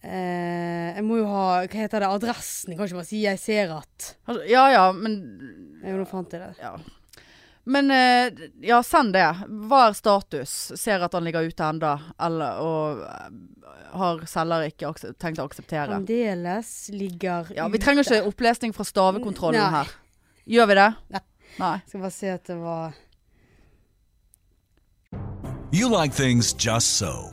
Speaker 2: eh, Jeg må jo ha Hva heter det? Adressen? Jeg kan ikke bare si 'jeg ser at'
Speaker 1: Altså, Ja ja, men
Speaker 2: Jo, nå fant jeg det.
Speaker 1: Ja. Men eh, ja, send det. Hva er status? Ser at han ligger ute enda, eller, og eh, har selger ikke akse- tenkt å akseptere.
Speaker 2: Fremdeles ligger
Speaker 1: Ja, vi trenger ikke opplesning fra stavekontrollen
Speaker 2: Nei.
Speaker 1: her. Gjør vi det?
Speaker 2: Nei.
Speaker 1: Nei.
Speaker 2: Skal bare se at det var
Speaker 3: You like things just so.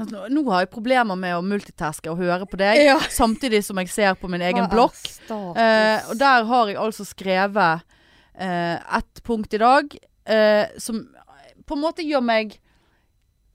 Speaker 1: Altså, Nå nå har jeg problemer med å multitaske og høre på deg,
Speaker 2: Ja.
Speaker 1: samtidig som jeg ser på min egen
Speaker 2: Hva er
Speaker 1: blokk.
Speaker 2: status?
Speaker 1: Eh, og der har jeg altså skrevet eh, ett punkt i dag eh, som på en måte gjør meg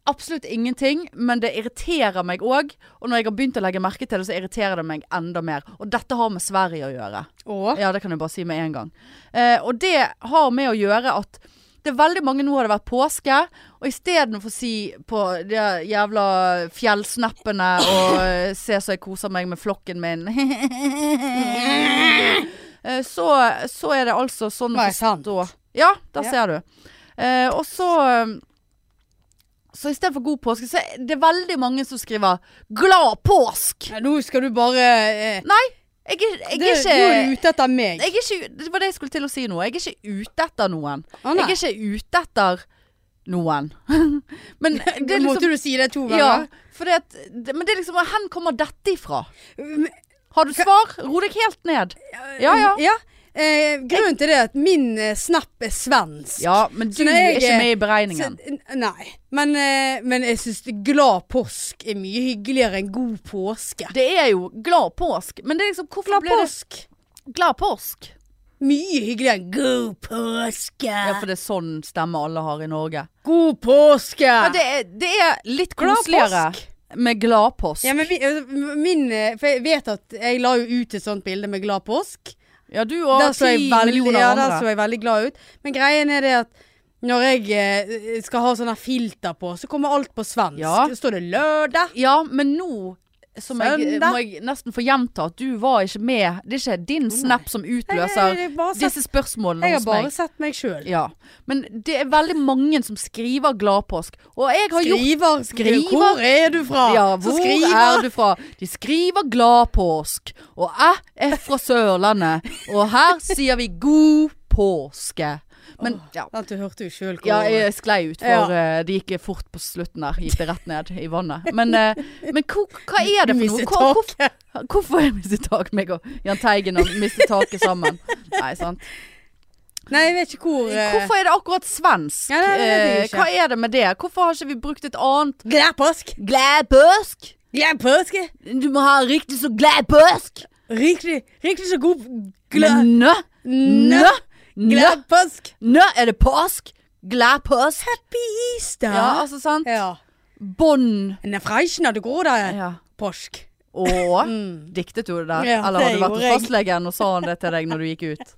Speaker 1: absolutt ingenting, men det irriterer meg òg. Og når jeg har begynt å legge merke til det, så irriterer det meg enda mer. Og dette har med Sverige å gjøre.
Speaker 2: Og
Speaker 1: Ja, det kan jeg bare si med en gang. Eh, og det har med å gjøre at det er veldig mange nå har det vært påske, og istedenfor å si på de jævla fjellsneppene og eh, se så jeg koser meg med flokken min (laughs) eh, så, så er det altså sånn å
Speaker 2: Var det sant?
Speaker 1: forstå. Ja, der
Speaker 2: Ja.
Speaker 1: ser du. Eh, og så eh, Så istedenfor god påske, så er det veldig mange som skriver 'glad påsk'.
Speaker 2: ja, Nå skal du bare eh,
Speaker 1: Jeg, er- jeg
Speaker 2: det,
Speaker 1: er ikke
Speaker 2: Nå er du ute etter meg.
Speaker 1: jeg er ikke, u- det var det jeg skulle til å si nå. Jeg er ikke ute etter noen.
Speaker 2: Å, nei.
Speaker 1: jeg er ikke ute etter noen. (laughs) men det er liksom
Speaker 2: Måtte du si det to
Speaker 1: ja,
Speaker 2: ganger?
Speaker 1: for det, at- det- Men det er liksom Hvor kommer dette ifra?
Speaker 2: Men-
Speaker 1: Har du svar? Ro deg helt ned. Ja ja.
Speaker 2: Eh, grunnen til det er at min eh, snap er svensk.
Speaker 1: Ja, men du
Speaker 2: Så når
Speaker 1: er
Speaker 2: jeg
Speaker 1: ikke
Speaker 2: er-
Speaker 1: med i
Speaker 2: Så,
Speaker 1: beregningen.
Speaker 2: n- nei. Men, eh, men jeg syns glad påsk er mye hyggeligere enn god påske.
Speaker 1: Det er jo glad påsk, men det er liksom Hvorfor
Speaker 2: Glad
Speaker 1: ble det
Speaker 2: påsk!
Speaker 1: glad påsk?
Speaker 2: Mye hyggeligere enn god påske.
Speaker 1: Ja, for det er sånn stemme alle har i Norge.
Speaker 2: God påske!
Speaker 1: Ja, det er, det er litt
Speaker 2: Glad
Speaker 1: koseligere
Speaker 2: påsk.
Speaker 1: med glad påsk.
Speaker 2: Ja, men vi, eh, min, eh, for jeg vet at jeg la jo ut et sånt bilde med glad påsk.
Speaker 1: Ja, du og
Speaker 2: der så jeg
Speaker 1: ti
Speaker 2: veldig,
Speaker 1: millioner
Speaker 2: ja, der
Speaker 1: andre.
Speaker 2: så jeg veldig glad ut. Men greien er det at når jeg eh, skal ha sånn her filter på, så kommer alt på svensk.
Speaker 1: Ja.
Speaker 2: Så står det lørdag.
Speaker 1: Ja, men nå som jeg,
Speaker 2: Søndag.
Speaker 1: må jeg nesten få gjenta at du var ikke med. Det er ikke din snap som
Speaker 2: Nei,
Speaker 1: utløser
Speaker 2: nei, jeg har bare sett-
Speaker 1: disse spørsmålene
Speaker 2: Jeg har
Speaker 1: hos
Speaker 2: bare
Speaker 1: meg.
Speaker 2: sett meg sjøl.
Speaker 1: Ja. Men det er veldig mange som skriver gladpåsk. Og jeg har gjort
Speaker 2: Skriver,
Speaker 1: skriver.
Speaker 2: Hvor er du fra?
Speaker 1: ja,
Speaker 2: Så
Speaker 1: hvor
Speaker 2: skriver.
Speaker 1: er du fra? De skriver glad påsk, og jeg er fra Sørlandet. Og her sier vi god påske. Men ja,
Speaker 2: Vent, du hørte jo sjøl hvor
Speaker 1: ja jeg sklei ut,
Speaker 2: Ja.
Speaker 1: for eh, det gikk fort på slutten der. Gikk det rett ned i vannet. Men, eh, men hvor- hva er det for noe?
Speaker 2: Mistet
Speaker 1: Hvor- hvor-
Speaker 2: taket.
Speaker 1: Hvorfor har jeg mistet tak, meg og Jahn Teigen har mistet taket sammen? Nei, sant.
Speaker 2: Nei, jeg vet ikke hvor eh,
Speaker 1: Hvorfor er det akkurat svensk?
Speaker 2: Ja, nei, det vet jeg
Speaker 1: Eh,
Speaker 2: ikke.
Speaker 1: Hva er det med det? Hvorfor har ikke vi brukt et annet
Speaker 2: Glad påsk!
Speaker 1: Glad påsk!
Speaker 2: eh, Glad påske!
Speaker 1: Du må ha riktig så glad påsk!
Speaker 2: Riktig, riktig så god
Speaker 1: Men
Speaker 2: glad
Speaker 1: Nø! Nø! Nø!
Speaker 2: Glad påsk!
Speaker 1: Nå er det påsk! Gladpost.
Speaker 2: Happy Easter!
Speaker 1: Ja, altså sant.
Speaker 2: Ja.
Speaker 1: Bonn
Speaker 2: En freisjner, det går da,
Speaker 1: Ja.
Speaker 2: påsk.
Speaker 1: og Diktet du det der?
Speaker 2: Mm. Ja,
Speaker 1: Eller har du vært
Speaker 2: det gjorde
Speaker 1: hos
Speaker 2: jeg.
Speaker 1: fastlegen og sa han det til deg når du gikk ut?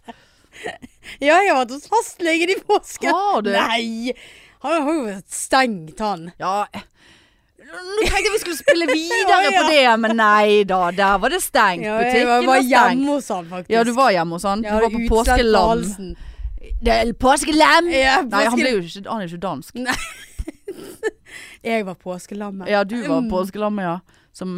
Speaker 2: Ja, jeg har vært hos fastlegen i påsken.
Speaker 1: Har du?
Speaker 2: Nei! Han har jo vært stengt, han.
Speaker 1: Ja eh, Nå tenkte jeg vi skulle spille videre
Speaker 2: (laughs) Ja, ja.
Speaker 1: på det, men nei da. Der var det stengt.
Speaker 2: Ja, jeg
Speaker 1: Butikken
Speaker 2: var, var
Speaker 1: var stengt.
Speaker 2: hjemme hos han, faktisk.
Speaker 1: Ja, du var hjemme hos han. Du
Speaker 2: Jeg
Speaker 1: var
Speaker 2: hadde
Speaker 1: på
Speaker 2: utslett
Speaker 1: påskelam.
Speaker 2: halsen.
Speaker 1: Det er Påskelam!
Speaker 2: Ja,
Speaker 1: Nei, han,
Speaker 2: påske-
Speaker 1: ble jo ikke, han er jo ikke dansk.
Speaker 2: Jeg var påskelammet.
Speaker 1: Ja, du
Speaker 2: Mm.
Speaker 1: var påskelammet, ja. Som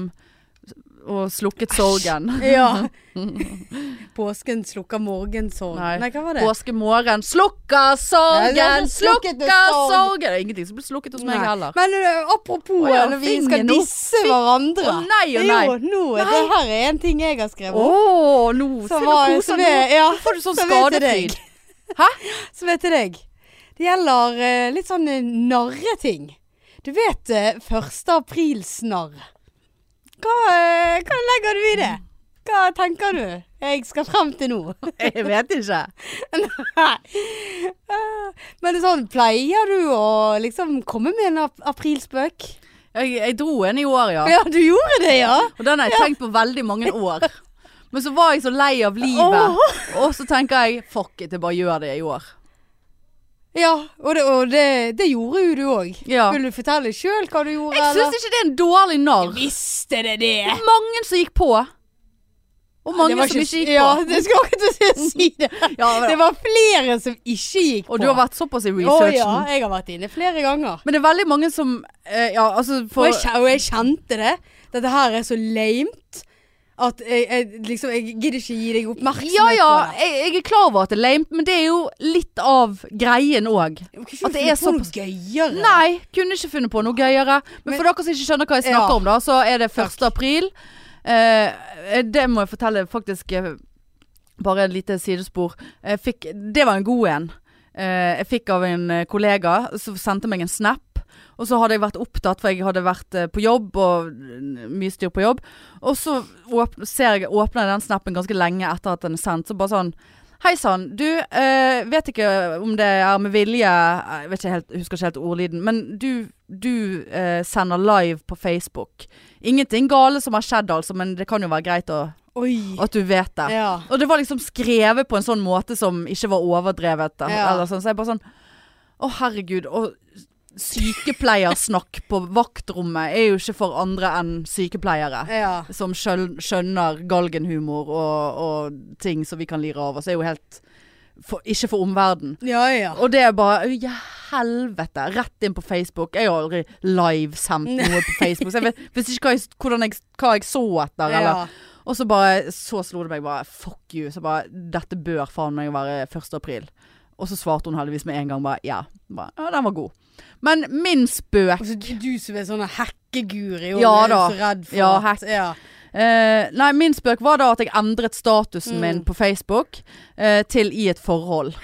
Speaker 1: Og slukket sorgen. (laughs)
Speaker 2: Ja. (laughs) Påsken slukker morgensorg. Nei. hva var det?
Speaker 1: Påskemorgen. Slukka
Speaker 2: Nei,
Speaker 1: sorgen!
Speaker 2: det slukket
Speaker 1: Slukka
Speaker 2: med sorg.
Speaker 1: sorgen! Det er ingenting som blir slukket hos meg
Speaker 2: Nei.
Speaker 1: heller.
Speaker 2: Men ø, apropos
Speaker 1: Å ja,
Speaker 2: når vi skal
Speaker 1: fingeren opp.
Speaker 2: disse hverandre.
Speaker 1: Å nei, å nei.
Speaker 2: Jo, nå, det her er en ting jeg har skrevet
Speaker 1: Å,
Speaker 2: opp.
Speaker 1: nå
Speaker 2: Som
Speaker 1: Se, nå
Speaker 2: var-
Speaker 1: koser
Speaker 2: som
Speaker 1: han nå.
Speaker 2: er- ja,
Speaker 1: Hvorfor har du sånn
Speaker 2: som er til deg.
Speaker 1: skadefryd?
Speaker 2: (laughs)
Speaker 1: Hæ?
Speaker 2: Som er til deg. Det gjelder ø, litt sånn ø, narreting. Du vet uh, 1. april-snarr. Hva, ø, hva legger du i
Speaker 1: Mm.
Speaker 2: det? Hva tenker du jeg skal frem til nå?
Speaker 1: (laughs) Jeg vet ikke.
Speaker 2: (laughs) Nei. Eh, Men det er sånn, pleier du å liksom komme med en ap aprilspøk?
Speaker 1: Jeg, jeg dro en i år, ja.
Speaker 2: Ja, du gjorde det, ja.
Speaker 1: Og den har jeg tenkt på veldig mange år. Men så var jeg så lei av livet. Og så tenker jeg fuck it, jeg bare gjør det i år.
Speaker 2: Ja, og det, og det, det gjorde jo du òg.
Speaker 1: Ja.
Speaker 2: Vil du fortelle sjøl hva du gjorde?
Speaker 1: Jeg syns ikke det er en dårlig narr.
Speaker 2: Visste det det!
Speaker 1: Det er mange som gikk på. Og mange som ikke gikk
Speaker 2: Ja,
Speaker 1: på.
Speaker 2: det skulle akkurat til å si det.
Speaker 1: (laughs) Ja, men-
Speaker 2: (laughs) det var flere som ikke gikk på.
Speaker 1: Og du har vært såpass i
Speaker 2: Å
Speaker 1: researchen.
Speaker 2: ja, jeg har vært inne flere ganger.
Speaker 1: Men det er veldig mange som eh, Ja, altså
Speaker 2: Og
Speaker 1: for
Speaker 2: jeg, kje- og jeg kjente det. Dette her er så lamet at jeg, jeg, liksom, jeg gidder ikke gi deg oppmerksomhet
Speaker 1: Ja ja,
Speaker 2: på det.
Speaker 1: jeg, jeg er klar over at det er lame, men det er jo litt av greien òg.
Speaker 2: At det er såpass gøyere.
Speaker 1: Nei, kunne ikke funnet på noe gøyere. Men, for dere som ikke skjønner hva jeg snakker
Speaker 2: Ja.
Speaker 1: om, da, så er det 1.
Speaker 2: Takk.
Speaker 1: april. Eh, det må jeg fortelle faktisk eh, Bare et lite sidespor. Jeg fikk, det var en god en. Eh, jeg fikk av en eh, kollega som sendte meg en snap. Og så hadde jeg vært opptatt, for jeg hadde vært eh, på jobb og eh, mye styr på jobb. Og så åp ser jeg åpner jeg den snappen ganske lenge etter at den er sendt. Så bare sånn Hei sann, du eh, vet ikke om det er med vilje Jeg vet ikke helt, husker ikke helt ordlyden, men du, du eh, sender live på Facebook. Ingenting gale som har skjedd, altså, men det kan jo være greit å,
Speaker 2: Oi.
Speaker 1: at du vet det.
Speaker 2: Ja.
Speaker 1: Og det var liksom skrevet på en sånn måte som ikke var overdrevet. da,
Speaker 2: Ja.
Speaker 1: Eller sånn, så jeg bare sånn Å, herregud. Og sykepleiersnakk på vaktrommet er jo ikke for andre enn sykepleiere
Speaker 2: ja.
Speaker 1: som skjøn- skjønner galgenhumor og, og ting som vi kan lire av oss, er jo helt for, ikke for omverdenen.
Speaker 2: Ja, ja.
Speaker 1: Og det er bare Ja, helvete! Rett inn på Facebook. Jeg har aldri livesendt noe på Facebook. Så jeg vet, visste ikke hva jeg, hvordan jeg, hva jeg så etter.
Speaker 2: ja.
Speaker 1: Eller. Og så bare Så slo det meg bare Fuck you. Så bare Dette bør faen meg være 1. april. Og så svarte hun heldigvis med en gang bare ja. Bare, ja, den var god. Men min spøk
Speaker 2: Altså, du, du som er sånn hekkeguri og
Speaker 1: Ja
Speaker 2: er
Speaker 1: da.
Speaker 2: så redd for
Speaker 1: Ja,
Speaker 2: at-
Speaker 1: hekk.
Speaker 2: ja.
Speaker 1: Eh, nei, min spøk var da at jeg endret statusen min på Facebook eh, til i et forhold.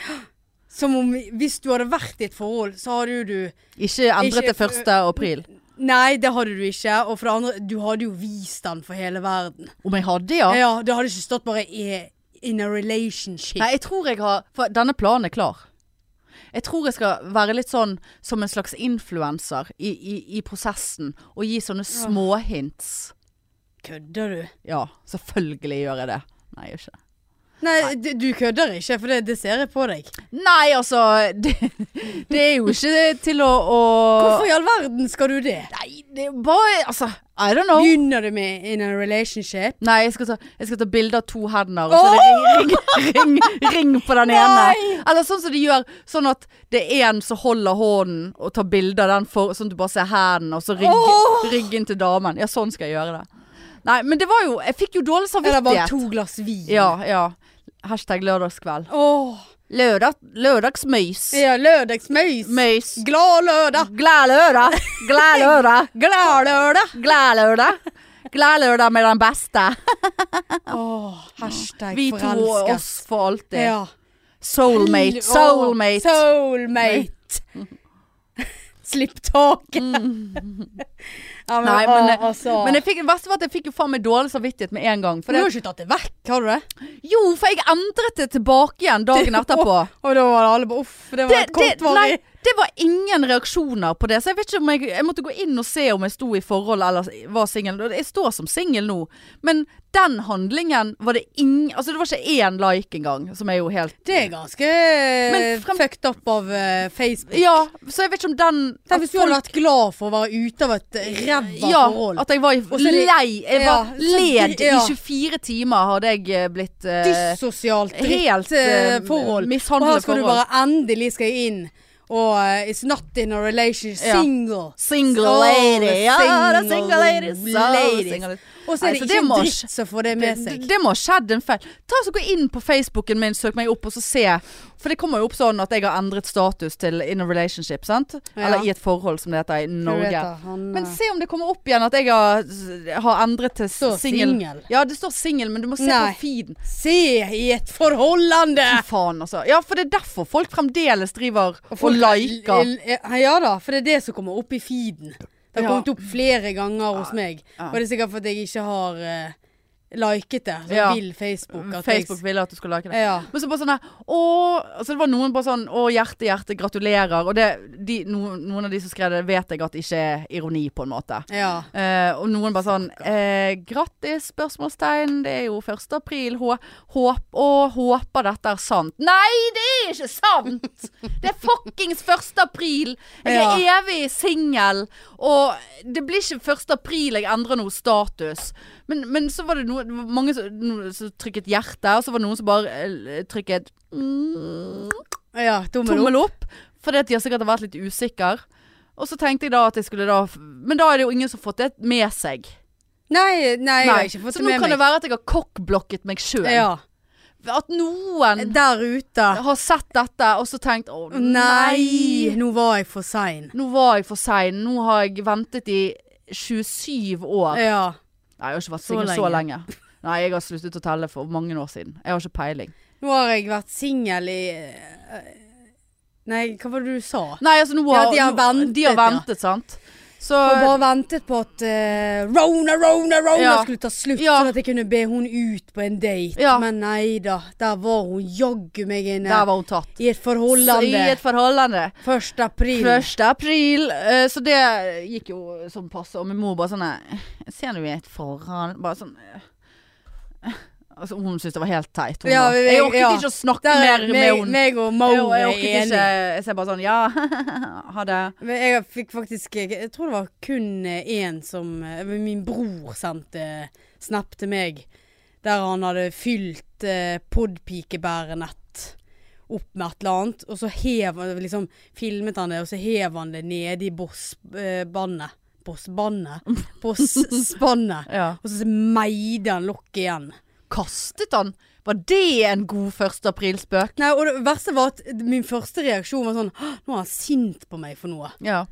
Speaker 2: Som om hvis du hadde vært i et forhold, så hadde jo du
Speaker 1: Ikke endret
Speaker 2: Ikke
Speaker 1: det
Speaker 2: for-
Speaker 1: 1. april.
Speaker 2: Nei, det hadde du ikke. Og for det andre, du hadde jo vist den for hele verden.
Speaker 1: Om jeg hadde, ja.
Speaker 2: Ja, Det hadde ikke stått bare i, 'in a relationship'.
Speaker 1: Nei, jeg tror jeg har For denne planen er klar. Jeg tror jeg skal være litt sånn som en slags influenser i, i, i prosessen. Og gi sånne småhints.
Speaker 2: Kødder du?
Speaker 1: Ja, selvfølgelig gjør jeg det. Nei, jeg gjør ikke det.
Speaker 2: Nei, du, du kødder ikke, for det, det ser jeg på deg.
Speaker 1: Nei, altså (laughs) Det, det er jo ikke til å, å
Speaker 2: Hvorfor i all verden skal du det?
Speaker 1: Nei, det er bare Altså, I don't know.
Speaker 2: Begynner du med 'in a relationship'?
Speaker 1: Nei, jeg skal ta, jeg skal ta bilde av to hender, og så er det ring, ring, ring, ring på den ene. Eller sånn som de gjør, sånn at det er en som holder hånden og tar bilde av den, for, sånn at du bare ser hendene, og så ryggen,
Speaker 2: Åh!
Speaker 1: ryggen til damen. Ja, sånn skal jeg gjøre det. Nei, men det var jo Jeg fikk jo dårlig
Speaker 2: Eller bare
Speaker 1: samvittighet.
Speaker 2: to glass vin?
Speaker 1: Ja, ja. Hashtag lørdagskveld.
Speaker 2: Åh,
Speaker 1: Lørdag, lørdagsmøys.
Speaker 2: ja, lørdagsmøys.
Speaker 1: Møys.
Speaker 2: Glad lørdag.
Speaker 1: Glad lørdag. Glad lørdag.
Speaker 2: (laughs) Glad lørdag.
Speaker 1: Glad lørdag. Glad lørdag med den beste.
Speaker 2: Åh, hashtag
Speaker 1: Vi to og
Speaker 2: forelsket.
Speaker 1: oss for alltid.
Speaker 2: Ja.
Speaker 1: Soulmate,
Speaker 2: Åh,
Speaker 1: soulmate.
Speaker 2: Soulmate. (laughs) Slipp taket. (laughs) ja, men,
Speaker 1: Mm. Nei, men, eh,
Speaker 2: åh, altså.
Speaker 1: men jeg fikk, det verste var at jeg fikk jo faen meg dårlig samvittighet med en gang. For
Speaker 2: du har
Speaker 1: det,
Speaker 2: jo ikke tatt det vekk, har du
Speaker 1: (laughs)
Speaker 2: det?
Speaker 1: jo,
Speaker 2: (laughs)
Speaker 1: for jeg endret det tilbake igjen dagen etterpå.
Speaker 2: Og da var det alle bare uff, det var
Speaker 1: Det,
Speaker 2: et
Speaker 1: det, nei,
Speaker 2: kortvarig
Speaker 1: Det var ingen reaksjoner på det, så jeg vet ikke om jeg, jeg måtte gå inn og se om jeg sto i forhold eller var singel. Og Jeg står som singel nå, men den handlingen var det ingen Altså det var ikke én like engang, som er jo helt
Speaker 2: Det er ganske
Speaker 1: Men frem-
Speaker 2: fucked up av eh, Facebook.
Speaker 1: Ja, så jeg vet ikke om den
Speaker 2: Tenk
Speaker 1: at
Speaker 2: hvis du hadde
Speaker 1: folk-
Speaker 2: vært glad for å være ute av et ræva
Speaker 1: ja,
Speaker 2: forhold.
Speaker 1: at jeg var
Speaker 2: Og så er
Speaker 1: i-
Speaker 2: det-
Speaker 1: lei. Jeg var
Speaker 2: Ja, så-
Speaker 1: led i
Speaker 2: ja.
Speaker 1: 24 timer hadde jeg eh, blitt eh,
Speaker 2: Dyssosialt
Speaker 1: helt,
Speaker 2: dritt eh,
Speaker 1: eh,
Speaker 2: forhold.
Speaker 1: mishandlet
Speaker 2: Og her skal du
Speaker 1: forhold.
Speaker 2: bare endelig skal jeg inn. Og eh, it's not in a relationship.
Speaker 1: Ja.
Speaker 2: Single.
Speaker 1: Single
Speaker 2: So
Speaker 1: lady. Ja, det er
Speaker 2: single
Speaker 1: single ladies. So
Speaker 2: ladies.
Speaker 1: single-
Speaker 2: Og så
Speaker 1: Nei,
Speaker 2: er det
Speaker 1: så
Speaker 2: ikke
Speaker 1: det
Speaker 2: en
Speaker 1: må
Speaker 2: dritt som får det med
Speaker 1: Det,
Speaker 2: seg.
Speaker 1: det må ha skjedd en feil. Ta så Gå inn på Facebooken min, søk meg opp og så se. For det kommer jo opp sånn at jeg har endret status til in a relationship. sant?
Speaker 2: Ja.
Speaker 1: Eller i et forhold, som det heter i Norge.
Speaker 2: da, han,
Speaker 1: men
Speaker 2: eh,
Speaker 1: se om det kommer opp igjen at jeg har, har endret til
Speaker 2: Står
Speaker 1: singel.
Speaker 2: single.
Speaker 1: Ja, det står singel, men du må se
Speaker 2: Nei.
Speaker 1: på feeden.
Speaker 2: Se i et forholdende!
Speaker 1: Fy faen, altså. Ja, for det er derfor folk fremdeles driver (laughs) og, liker.
Speaker 2: Ja da, for det er det som kommer opp i feeden. Det har
Speaker 1: Ja.
Speaker 2: kommet opp flere ganger hos meg.
Speaker 1: Ja.
Speaker 2: Og det er sikkert fordi jeg ikke har eh, liket det. Så
Speaker 1: Ja.
Speaker 2: vil Facebook at
Speaker 1: Facebook ville at du skulle like det.
Speaker 2: Ja.
Speaker 1: Men så bare sånn her Å altså Det var noen bare sånn Å, hjerte, hjerte, gratulerer. Og det, de, no, noen av de som skrev det, vet jeg at ikke er ironi, på en måte.
Speaker 2: jeg Ja.
Speaker 1: Eh, og noen bare sånn eh, Grattis, spørsmålstegn. Det er jo 1. april. Hå, håp, å, håper dette er sant. Nei, det er ikke sant! Det er fuckings 1. april! Jeg er evig singel. Og det blir ikke 1. april jeg endrer noe status. Men, men så var det noe, det var mange som, noen som trykket hjerte, og så var det noen som bare eh, trykket mm,
Speaker 2: ja tommel,
Speaker 1: tommel opp. Fordi at de har sikkert vært litt usikre. Og så tenkte jeg da at jeg skulle da Men da er det jo ingen som har fått det med seg.
Speaker 2: opp. Nei, nei, jeg har
Speaker 1: Nei.
Speaker 2: ikke fått
Speaker 1: Så
Speaker 2: det
Speaker 1: nå
Speaker 2: med
Speaker 1: kan det
Speaker 2: meg.
Speaker 1: være at jeg har cockblokket meg sjøl.
Speaker 2: Ja.
Speaker 1: At noen
Speaker 2: Der ute.
Speaker 1: har sett dette og så tenkt å
Speaker 2: Nei,
Speaker 1: nei,
Speaker 2: nå var jeg for sein.
Speaker 1: nå var jeg for sein. Nå har jeg ventet i 27 år.
Speaker 2: Ja.
Speaker 1: Nei, jeg har ikke vært
Speaker 2: Så
Speaker 1: singel så lenge. Nei, jeg har sluttet å telle for mange år siden. Jeg har ikke peiling.
Speaker 2: Nå har jeg vært singel i eh, Nei, hva var det du sa?
Speaker 1: Nei, altså nå
Speaker 2: Ja,
Speaker 1: har
Speaker 2: de har
Speaker 1: nå-
Speaker 2: ventet,
Speaker 1: de har
Speaker 2: ja.
Speaker 1: ventet sant. Så
Speaker 2: Og bare ventet på at eh, Rona, Rona, Rona
Speaker 1: Ja.
Speaker 2: skulle ta slutt,
Speaker 1: Ja.
Speaker 2: sånn at jeg kunne be hun ut på en date.
Speaker 1: Ja.
Speaker 2: Men nei da, der var hun jaggu meg inne.
Speaker 1: der var hun tatt.
Speaker 2: I et forholdende.
Speaker 1: I et forholdende.
Speaker 2: 1. april.
Speaker 1: 1. april. eh, Så det gikk jo som passe. Og min mor bare sånn eh, Ser du i et forhold Bare sånn eh, Altså Hun syntes det var helt teit. Hun
Speaker 2: Ja,
Speaker 1: da.
Speaker 2: vi-
Speaker 1: jeg orket
Speaker 2: ja.
Speaker 1: ikke å snakke
Speaker 2: Der er
Speaker 1: mer med
Speaker 2: meg,
Speaker 1: henne.
Speaker 2: meg og
Speaker 1: Jeg,
Speaker 2: Mo
Speaker 1: jeg
Speaker 2: er
Speaker 1: orket ikke
Speaker 2: enige.
Speaker 1: Så jeg bare sånn Ja, (laughs) ha det.
Speaker 2: Men jeg fikk faktisk Jeg jeg tror det var kun eh, én som eh, Min bror sendte snap til meg der han hadde fylt eh, podpikebærenett opp med et eller annet, og så hev han liksom filmet han det, og så hev han det nede i bossbannet. Bossbannet? Bosspannet.
Speaker 1: Ja.
Speaker 2: Og så meide han lokket igjen.
Speaker 1: Kastet han? Var det en god 1. april-spøk?
Speaker 2: Nei, og det verste var at min første reaksjon var sånn «Hå, Nå er han sint på meg for noe.
Speaker 1: Ja.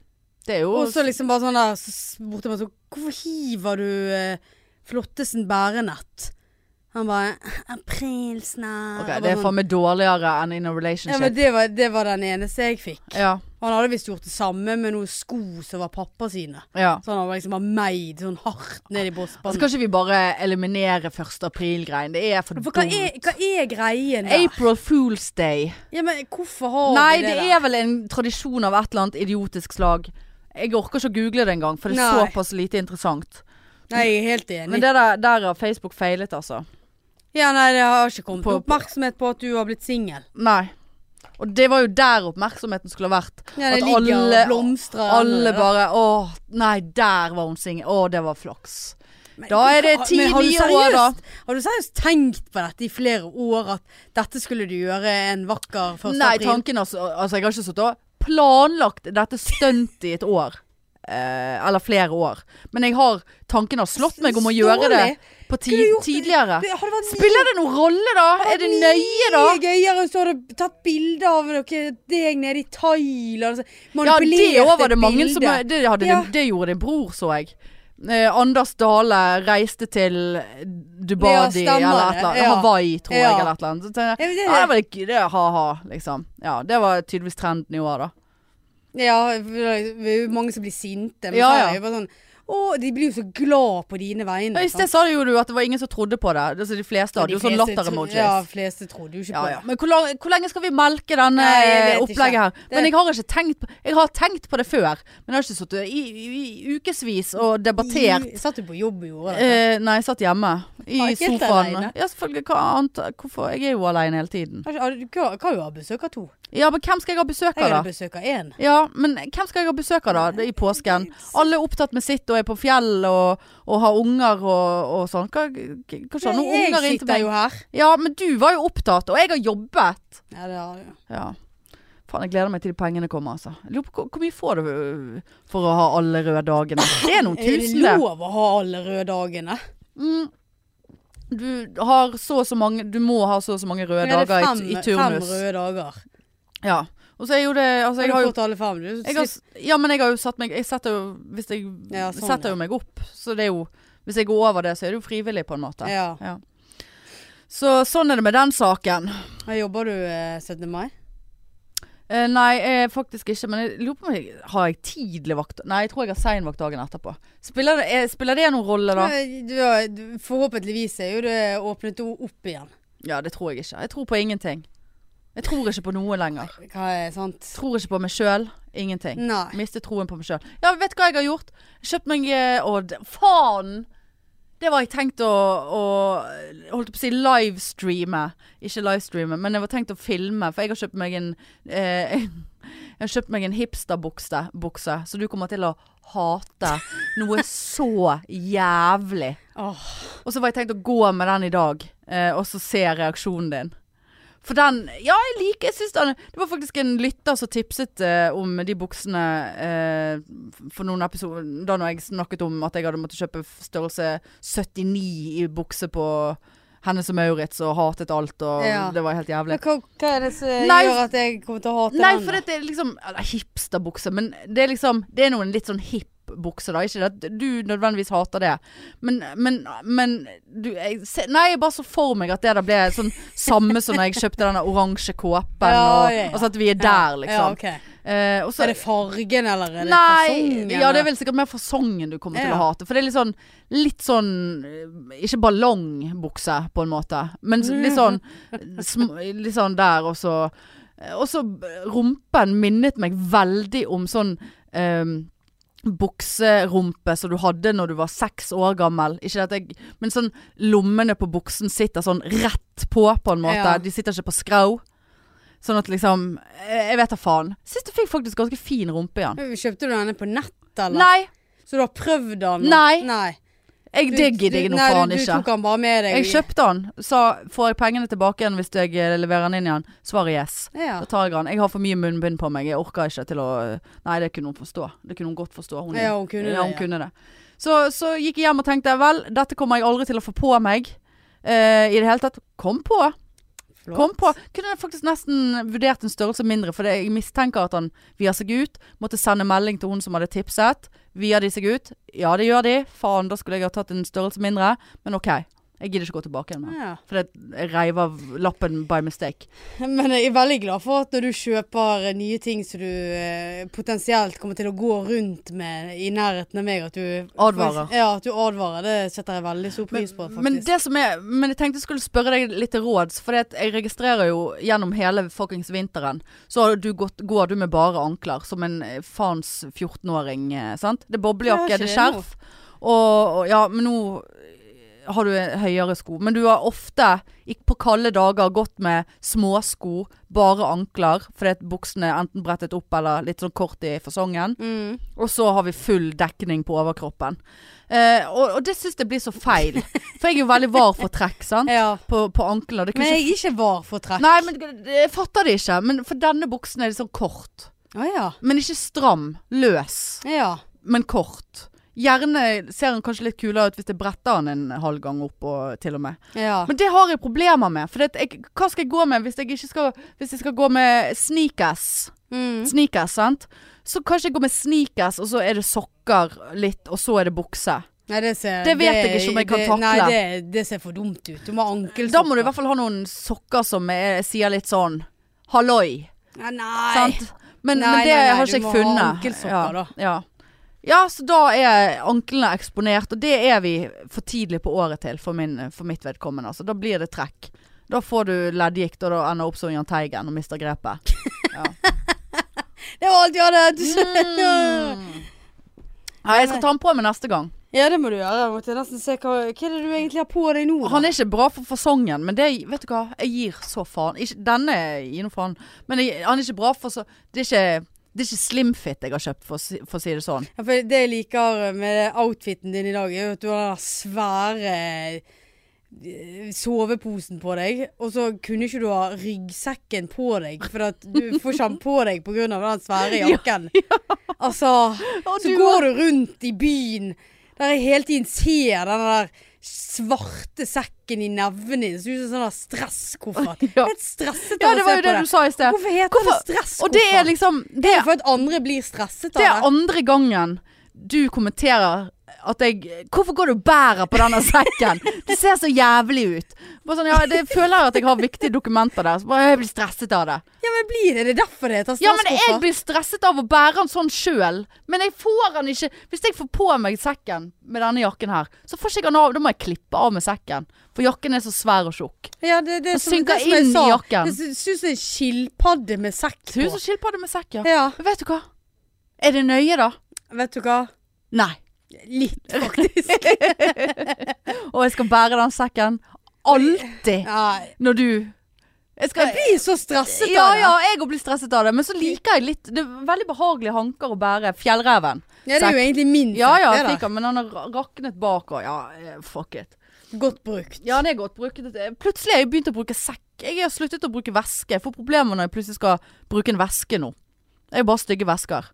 Speaker 1: Det er jo
Speaker 2: Og så liksom bare sånn der Så spurte jeg meg sånn Hvorfor hiver du eh, Flottesen bærenett? Han bare
Speaker 1: Ok,
Speaker 2: Aprilsnarr. Jeg bare
Speaker 1: Det er
Speaker 2: sånn,
Speaker 1: faen meg dårligere enn in a
Speaker 2: ja, men
Speaker 1: relationship.
Speaker 2: det var, det var den eneste jeg fikk.
Speaker 1: Ja.
Speaker 2: Han hadde visst gjort det samme med noen sko som var pappa sine.
Speaker 1: ja.
Speaker 2: Så han hadde liksom bare meid sånn hardt ned i
Speaker 1: Skal
Speaker 2: brystbanen.
Speaker 1: ikke vi bare eliminere 1. april-greien? Det er for dumt.
Speaker 2: For hva er, hva er greien der?
Speaker 1: April Fool's Day.
Speaker 2: Ja, men hvorfor har
Speaker 1: Nei,
Speaker 2: vi
Speaker 1: det
Speaker 2: det,
Speaker 1: er vel en tradisjon av et eller annet idiotisk slag. Jeg orker ikke å google det engang, for det er
Speaker 2: Nei.
Speaker 1: såpass lite interessant.
Speaker 2: der? Nei, jeg er helt enig.
Speaker 1: Men det der, der har Facebook feilet, altså.
Speaker 2: Ja, nei, det har ikke kommet
Speaker 1: På-
Speaker 2: oppmerksomhet på at du har blitt singel.
Speaker 1: Nei. Og det var jo der oppmerksomheten skulle ha vært.
Speaker 2: Ja, det
Speaker 1: At
Speaker 2: ligger og
Speaker 1: alle-
Speaker 2: blomstrer.
Speaker 1: Alle
Speaker 2: eller-
Speaker 1: bare Å, nei, der var hun singel. Å, det var flaks.
Speaker 2: Men
Speaker 1: Da er det
Speaker 2: hvorfor- men har du
Speaker 1: tidlige år, da.
Speaker 2: seriøst- Har du seriøst tenkt på dette i flere år, at dette skulle du gjøre en vakker 1.
Speaker 1: Nei,
Speaker 2: april?
Speaker 1: tanken altså, altså Jeg har ikke sittet og planlagt dette stuntet i et år. Eh, eller flere år. Men jeg har tanken har slått meg om å gjøre det
Speaker 2: Stålig.
Speaker 1: på ti
Speaker 2: Skulle du gjort det-
Speaker 1: tidligere.
Speaker 2: Det hadde vært
Speaker 1: Spiller det noen rolle, da? Er det nøye, da?
Speaker 2: Mye gøyere hvis du hadde tatt bilde av dere deg nede i Thailand. altså,
Speaker 1: Ja, det
Speaker 2: Manipulert
Speaker 1: òg var
Speaker 2: et
Speaker 1: det mange
Speaker 2: bilde.
Speaker 1: som det, hadde,
Speaker 2: Ja.
Speaker 1: det gjorde din bror, så jeg. Eh, Anders Dale reiste til
Speaker 2: Ja,
Speaker 1: Dubadi
Speaker 2: stemmer
Speaker 1: eller et
Speaker 2: det.
Speaker 1: eller annet.
Speaker 2: Ja.
Speaker 1: Hawaii, tror jeg,
Speaker 2: Ja.
Speaker 1: eller et eller annet. Så tenkte
Speaker 2: Ja,
Speaker 1: jeg,
Speaker 2: men det-
Speaker 1: ja, det var litt det- ha-ha, liksom. Ja, det var tydeligvis trenden i år, da.
Speaker 2: Ja, for det er jo mange som blir sinte. Men
Speaker 1: Ja,
Speaker 2: så
Speaker 1: ja.
Speaker 2: er det jo bare sånn Å, Og de blir jo så glad på dine vegne.
Speaker 1: I sted sa du jo du at det var ingen som trodde på det. Altså, de fleste hadde jo sånn latter-emojis.
Speaker 2: Ja, de fleste trodde jo ikke
Speaker 1: Ja,
Speaker 2: på
Speaker 1: ja. Men hvor, lang, hvor lenge skal vi melke denne
Speaker 2: Nei, jeg vet
Speaker 1: eh, opplegget
Speaker 2: ikke.
Speaker 1: her? Men
Speaker 2: Det-
Speaker 1: jeg har ikke tenkt på Jeg har tenkt på det før, men jeg har ikke sittet i, i, i ukevis og
Speaker 2: det.
Speaker 1: debattert.
Speaker 2: I- Satt du på jobb og gjorde det?
Speaker 1: Eh, nei, jeg satt hjemme. I
Speaker 2: Ah, helt
Speaker 1: sofaen.
Speaker 2: alene?
Speaker 1: Ja, selvfølgelig. Hva annet? Hvorfor? Jeg er jo alene hele tiden.
Speaker 2: Kanskje- har du- Hva hva har du av besøk av to?
Speaker 1: Ja, men hvem skal jeg ha besøk
Speaker 2: Jeg
Speaker 1: av, da?
Speaker 2: hadde besøk av én.
Speaker 1: Ja, men hvem skal jeg ha besøk av, da? I påsken. Alle er opptatt med sitt og er på fjell og, og har unger og, og sånn. Hva, hva sånne
Speaker 2: Jeg
Speaker 1: unger inntil
Speaker 2: sitter
Speaker 1: meg?
Speaker 2: jo her.
Speaker 1: Ja, men du var jo opptatt, og jeg har jobbet.
Speaker 2: Ja, det har du.
Speaker 1: Ja. Faen, jeg gleder meg til de pengene kommer, altså. Jeg Lurer på hvor- hvor mye får du øh, for å ha alle røde dagene? Det er noen
Speaker 2: (laughs) Er det
Speaker 1: tusen, det.
Speaker 2: lov å ha alle røde dagene?
Speaker 1: Mm. Du har så og så mange Du må ha så og så mange røde
Speaker 2: Er det
Speaker 1: dager
Speaker 2: fem,
Speaker 1: i, i
Speaker 2: fem
Speaker 1: turnus.
Speaker 2: røde dager.
Speaker 1: Ja. Og så er jo det altså,
Speaker 2: Har
Speaker 1: jeg
Speaker 2: du
Speaker 1: har jo,
Speaker 2: fått alle fem? Du, Så
Speaker 1: jeg har,
Speaker 2: slipp-
Speaker 1: Ja, men jeg har jo satt meg Jeg setter jo Hvis jeg
Speaker 2: Ja, sånn,
Speaker 1: setter
Speaker 2: ja.
Speaker 1: jo meg opp, så det er jo Hvis jeg går over det, så er det jo frivillig, på en måte.
Speaker 2: ja.
Speaker 1: Så sånn er det med den saken.
Speaker 2: Her jobber du eh, 17. mai?
Speaker 1: Eh, nei, eh, faktisk ikke. Men jeg lurer på om jeg har jeg tidlig vakt Nei, jeg tror jeg har sein vakt dagen etterpå. Spiller det, eh, spiller det noen rolle, da?
Speaker 2: Eh, Du, har- du, forhåpentligvis er jo det åpnet o- opp igjen.
Speaker 1: Ja, det tror jeg ikke. Jeg tror på ingenting. Jeg tror ikke på noe lenger.
Speaker 2: Hva er sant?
Speaker 1: Tror ikke på meg sjøl. Ingenting.
Speaker 2: Nei.
Speaker 1: Mistet troen på meg sjøl. Ja, vet du hva jeg har gjort? Kjøpt meg eh, Å, d- faen! Det var jeg tenkt å, å Holdt på å si livestreame. Ikke livestreame, men jeg var tenkt å filme, for jeg har kjøpt meg en eh, Jeg har kjøpt meg en hipsterbukse, bukse, så du kommer til å hate noe så jævlig.
Speaker 2: Åh,
Speaker 1: Og så var jeg tenkt å gå med den i dag, eh, og så se reaksjonen din. For den Ja, jeg liker jeg synes den Det var faktisk en lytter som tipset eh, om de buksene eh, for noen episoder Da når jeg snakket om at jeg hadde måttet kjøpe f- størrelse 79 i bukse på Hennes og Maurits og hatet alt, og
Speaker 2: Ja.
Speaker 1: det var helt jævlig.
Speaker 2: men hva, hva er det som
Speaker 1: Nei,
Speaker 2: gjør at jeg kommer til å hate
Speaker 1: Nei,
Speaker 2: den?
Speaker 1: for
Speaker 2: da?
Speaker 1: dette er liksom eller, Hipsterbukse, men det er liksom Det er noen litt sånn hipp bukser da Ikke det at du nødvendigvis hater det Men, men, men du, jeg, se, Nei, jeg bare så for meg at det der ble sånn Samme som når jeg kjøpte denne oransje kåpen
Speaker 2: Ja,
Speaker 1: og,
Speaker 2: ja, ja.
Speaker 1: Altså at vi er der
Speaker 2: Ja,
Speaker 1: liksom
Speaker 2: ok.
Speaker 1: Eh, og så-
Speaker 2: Er det fargen, eller er det
Speaker 1: Nei,
Speaker 2: fasongen?
Speaker 1: ja, det er
Speaker 2: eller?
Speaker 1: vel sikkert mer fasongen du kommer til
Speaker 2: Ja.
Speaker 1: å hate. For det er litt sånn, litt sånn eh, Ikke ballongbukse, på en måte, men s- litt
Speaker 2: (laughs)
Speaker 1: sånn, sm- litt sånn der, og så eh, Og så b- rumpen minnet meg veldig om sånn eh, Bukserumpe som du hadde når du var seks år gammel. Ikke at jeg Men sånn lommene på buksen sitter sånn rett på, på en måte.
Speaker 2: Ja.
Speaker 1: De sitter ikke på skrau. Sånn at liksom Jeg jeg vet da faen. Sist jeg fikk faktisk ganske fin rumpe igjen.
Speaker 2: Kjøpte du denne på nett, eller?
Speaker 1: Nei,
Speaker 2: Så du har prøvd den?
Speaker 1: Nei.
Speaker 2: Nei.
Speaker 1: jeg
Speaker 2: Du-
Speaker 1: digger deg nå
Speaker 2: du- nei, du-
Speaker 1: faen
Speaker 2: Du tok
Speaker 1: ikke.
Speaker 2: den bare med deg?
Speaker 1: Jeg kjøpte den, sa får jeg pengene tilbake igjen hvis jeg eh, leverer den inn igjen? Svaret yes.
Speaker 2: Ja.
Speaker 1: Da tar jeg den. Jeg har for mye munnbind på meg, jeg orker ikke til å Nei, det kunne hun forstå. Det kunne hun godt forstå. Hun,
Speaker 2: Ja, hun kunne det,
Speaker 1: ja, hun
Speaker 2: ja.
Speaker 1: kunne det. Så, så gikk jeg hjem og tenkte vel, dette kommer jeg aldri til å få på meg. eh, I det hele tatt. Kom på.
Speaker 2: Flott.
Speaker 1: Kom på. Kunne jeg faktisk nesten vurdert en størrelse mindre, for det- jeg mistenker at han vier seg ut. Måtte sende melding til hun som hadde tipset. Vier de seg ut? Ja, det gjør de. Faen, da skulle jeg ha tatt en størrelse mindre. Men OK. Jeg gidder ikke gå tilbake igjen med den.
Speaker 2: Ja.
Speaker 1: For det- jeg reiv av lappen by mistake.
Speaker 2: Men jeg er veldig glad for at når du kjøper eh, nye ting som du eh, potensielt kommer til å gå rundt med i nærheten av meg, at du
Speaker 1: Advarer.
Speaker 2: Ja, at du advarer. Det setter jeg veldig stor pris på, faktisk.
Speaker 1: Men, det som er, men jeg tenkte jeg skulle spørre deg litt til råds, for jeg registrerer jo gjennom hele fuckings vinteren, så har du gått, går du med bare ankler, som en eh, faens 14-åring, eh, sant? Det er boblejakke,
Speaker 2: Jeg har ikke
Speaker 1: det er
Speaker 2: det
Speaker 1: skjerf, og, og ja, men nå har du eh, høyere sko, men du har ofte, ikke på kalde dager, gått med småsko, bare ankler, fordi at buksene er enten brettet opp eller litt sånn kort i fasongen,
Speaker 2: mm.
Speaker 1: og så har vi full dekning på overkroppen. Eh, og, og det syns jeg blir så feil. For jeg er jo veldig var for trekk, sant?
Speaker 2: Ja.
Speaker 1: På, på anklene. Det kunne
Speaker 2: Men
Speaker 1: ikke-
Speaker 2: jeg er ikke var for trekk.
Speaker 1: Nei, men det- jeg fatter det ikke. Men for denne buksen er det sånn kort.
Speaker 2: Å ja.
Speaker 1: Men ikke stram. Løs.
Speaker 2: Ja.
Speaker 1: Men kort. Gjerne ser den kanskje litt kulere ut hvis jeg bretter den en halv gang opp, og, til og med.
Speaker 2: ja.
Speaker 1: Men det har jeg problemer med. For det, at jeg, hva skal jeg gå med hvis jeg, ikke skal, hvis jeg skal gå med sneakers?
Speaker 2: Mm.
Speaker 1: Sneakers, sant? Så kanskje jeg går med sneakers, og så er det sokker litt, og så er det bukse.
Speaker 2: Nei, det, ser,
Speaker 1: Det vet jeg ikke om jeg kan
Speaker 2: det-
Speaker 1: takle.
Speaker 2: Nei, det, det ser for dumt ut. Du må ha ankelsokker.
Speaker 1: Da må du i hvert fall ha noen sokker som er, sier litt sånn halloi.
Speaker 2: Nei. nei.
Speaker 1: Sant? Men,
Speaker 2: Nei,
Speaker 1: men det
Speaker 2: nei, nei,
Speaker 1: har
Speaker 2: du
Speaker 1: ikke jeg
Speaker 2: må ha
Speaker 1: funnet.
Speaker 2: ankelsokker,
Speaker 1: ja,
Speaker 2: da.
Speaker 1: Ja. Ja, så da er anklene eksponert, og det er vi for tidlig på året til for, min, for mitt vedkommende. Altså. Da blir det trekk. Da får du leddgikt, og da ender opp som Jahn Teigen og mister
Speaker 2: (laughs)
Speaker 1: grepet.
Speaker 2: Det var alt jeg hadde.
Speaker 1: Ja, jeg skal ta den på meg neste gang.
Speaker 2: ja, det må du gjøre. Jeg måtte nesten se hva, hva er det du egentlig har på deg nå. da?
Speaker 1: Han er ikke bra for fasongen, men det vet du hva, jeg gir så faen. Ikke, denne gir noe faen, men jeg, han er ikke bra for så Det er ikke, det er ikke slimfit jeg har kjøpt, for, å si- for å si det sånn.
Speaker 2: Ja, for det jeg liker med outfiten din i dag, er jo at du har den der svære eh, soveposen på deg, og så kunne ikke du ha ryggsekken på deg, for at du får ikke den på deg pga. den svære jakken. Altså, så
Speaker 1: du
Speaker 2: går du rundt i byen der jeg hele tiden ser den der svarte sekken i nevene dine, så ut som en sånn der stresskoffert.
Speaker 1: Ja.
Speaker 2: Helt stresset
Speaker 1: Ja,
Speaker 2: av
Speaker 1: det
Speaker 2: å se
Speaker 1: var jo
Speaker 2: på
Speaker 1: det du sa i sted.
Speaker 2: Hvorfor heter
Speaker 1: Hvorfor-
Speaker 2: det stresskoffert?
Speaker 1: Og det er liksom Det,
Speaker 2: for at andre blir stresset
Speaker 1: det
Speaker 2: av
Speaker 1: er
Speaker 2: det.
Speaker 1: andre gangen du kommenterer at jeg Hvorfor går du og bærer på denne sekken? Det ser så jævlig ut. Bare sånn, ja, det føler jeg at jeg har viktige dokumenter der. Så bare, jeg blir stresset av det.
Speaker 2: Ja, men blir det det? er derfor det heter
Speaker 1: Ja, men
Speaker 2: stresskoffert.
Speaker 1: jeg blir stresset av å bære den sånn sjøl. Men jeg får den ikke Hvis jeg får på meg sekken med denne jakken her, så får ikke jeg den av. Da må jeg klippe av med sekken. For jakken er så svær og tjukk.
Speaker 2: Ja, det, det, er som-
Speaker 1: synker
Speaker 2: det er som jeg
Speaker 1: inn i
Speaker 2: sa.
Speaker 1: jakken.
Speaker 2: Det sy- syns det er en skilpadde med sekk
Speaker 1: Ser ut
Speaker 2: på.
Speaker 1: som skilpadde med sekk, ja.
Speaker 2: Ja,
Speaker 1: Men vet du hva? Er det nøye, da?
Speaker 2: vet du hva?
Speaker 1: Nei.
Speaker 2: Litt, faktisk.
Speaker 1: Og jeg skal bære den sekken alltid
Speaker 2: Ja,
Speaker 1: når du Jeg skal
Speaker 2: jeg blir så stresset
Speaker 1: ja,
Speaker 2: av det.
Speaker 1: ja, jeg òg blir stresset av det, men så liker jeg litt Det er veldig behagelige hanker å bære. Fjellreven.
Speaker 2: Ja, det er jo egentlig min
Speaker 1: Ja ja, jeg
Speaker 2: sekk,
Speaker 1: fikk
Speaker 2: det
Speaker 1: den, men han har ra- raknet bak og Ja, eh, fuck it.
Speaker 2: da. Godt brukt.
Speaker 1: Ja, det er godt brukt. Plutselig har jeg begynt å bruke sekk. Jeg har sluttet å bruke veske. Jeg får problemer når jeg plutselig skal bruke en veske nå. Det er bare stygge vesker.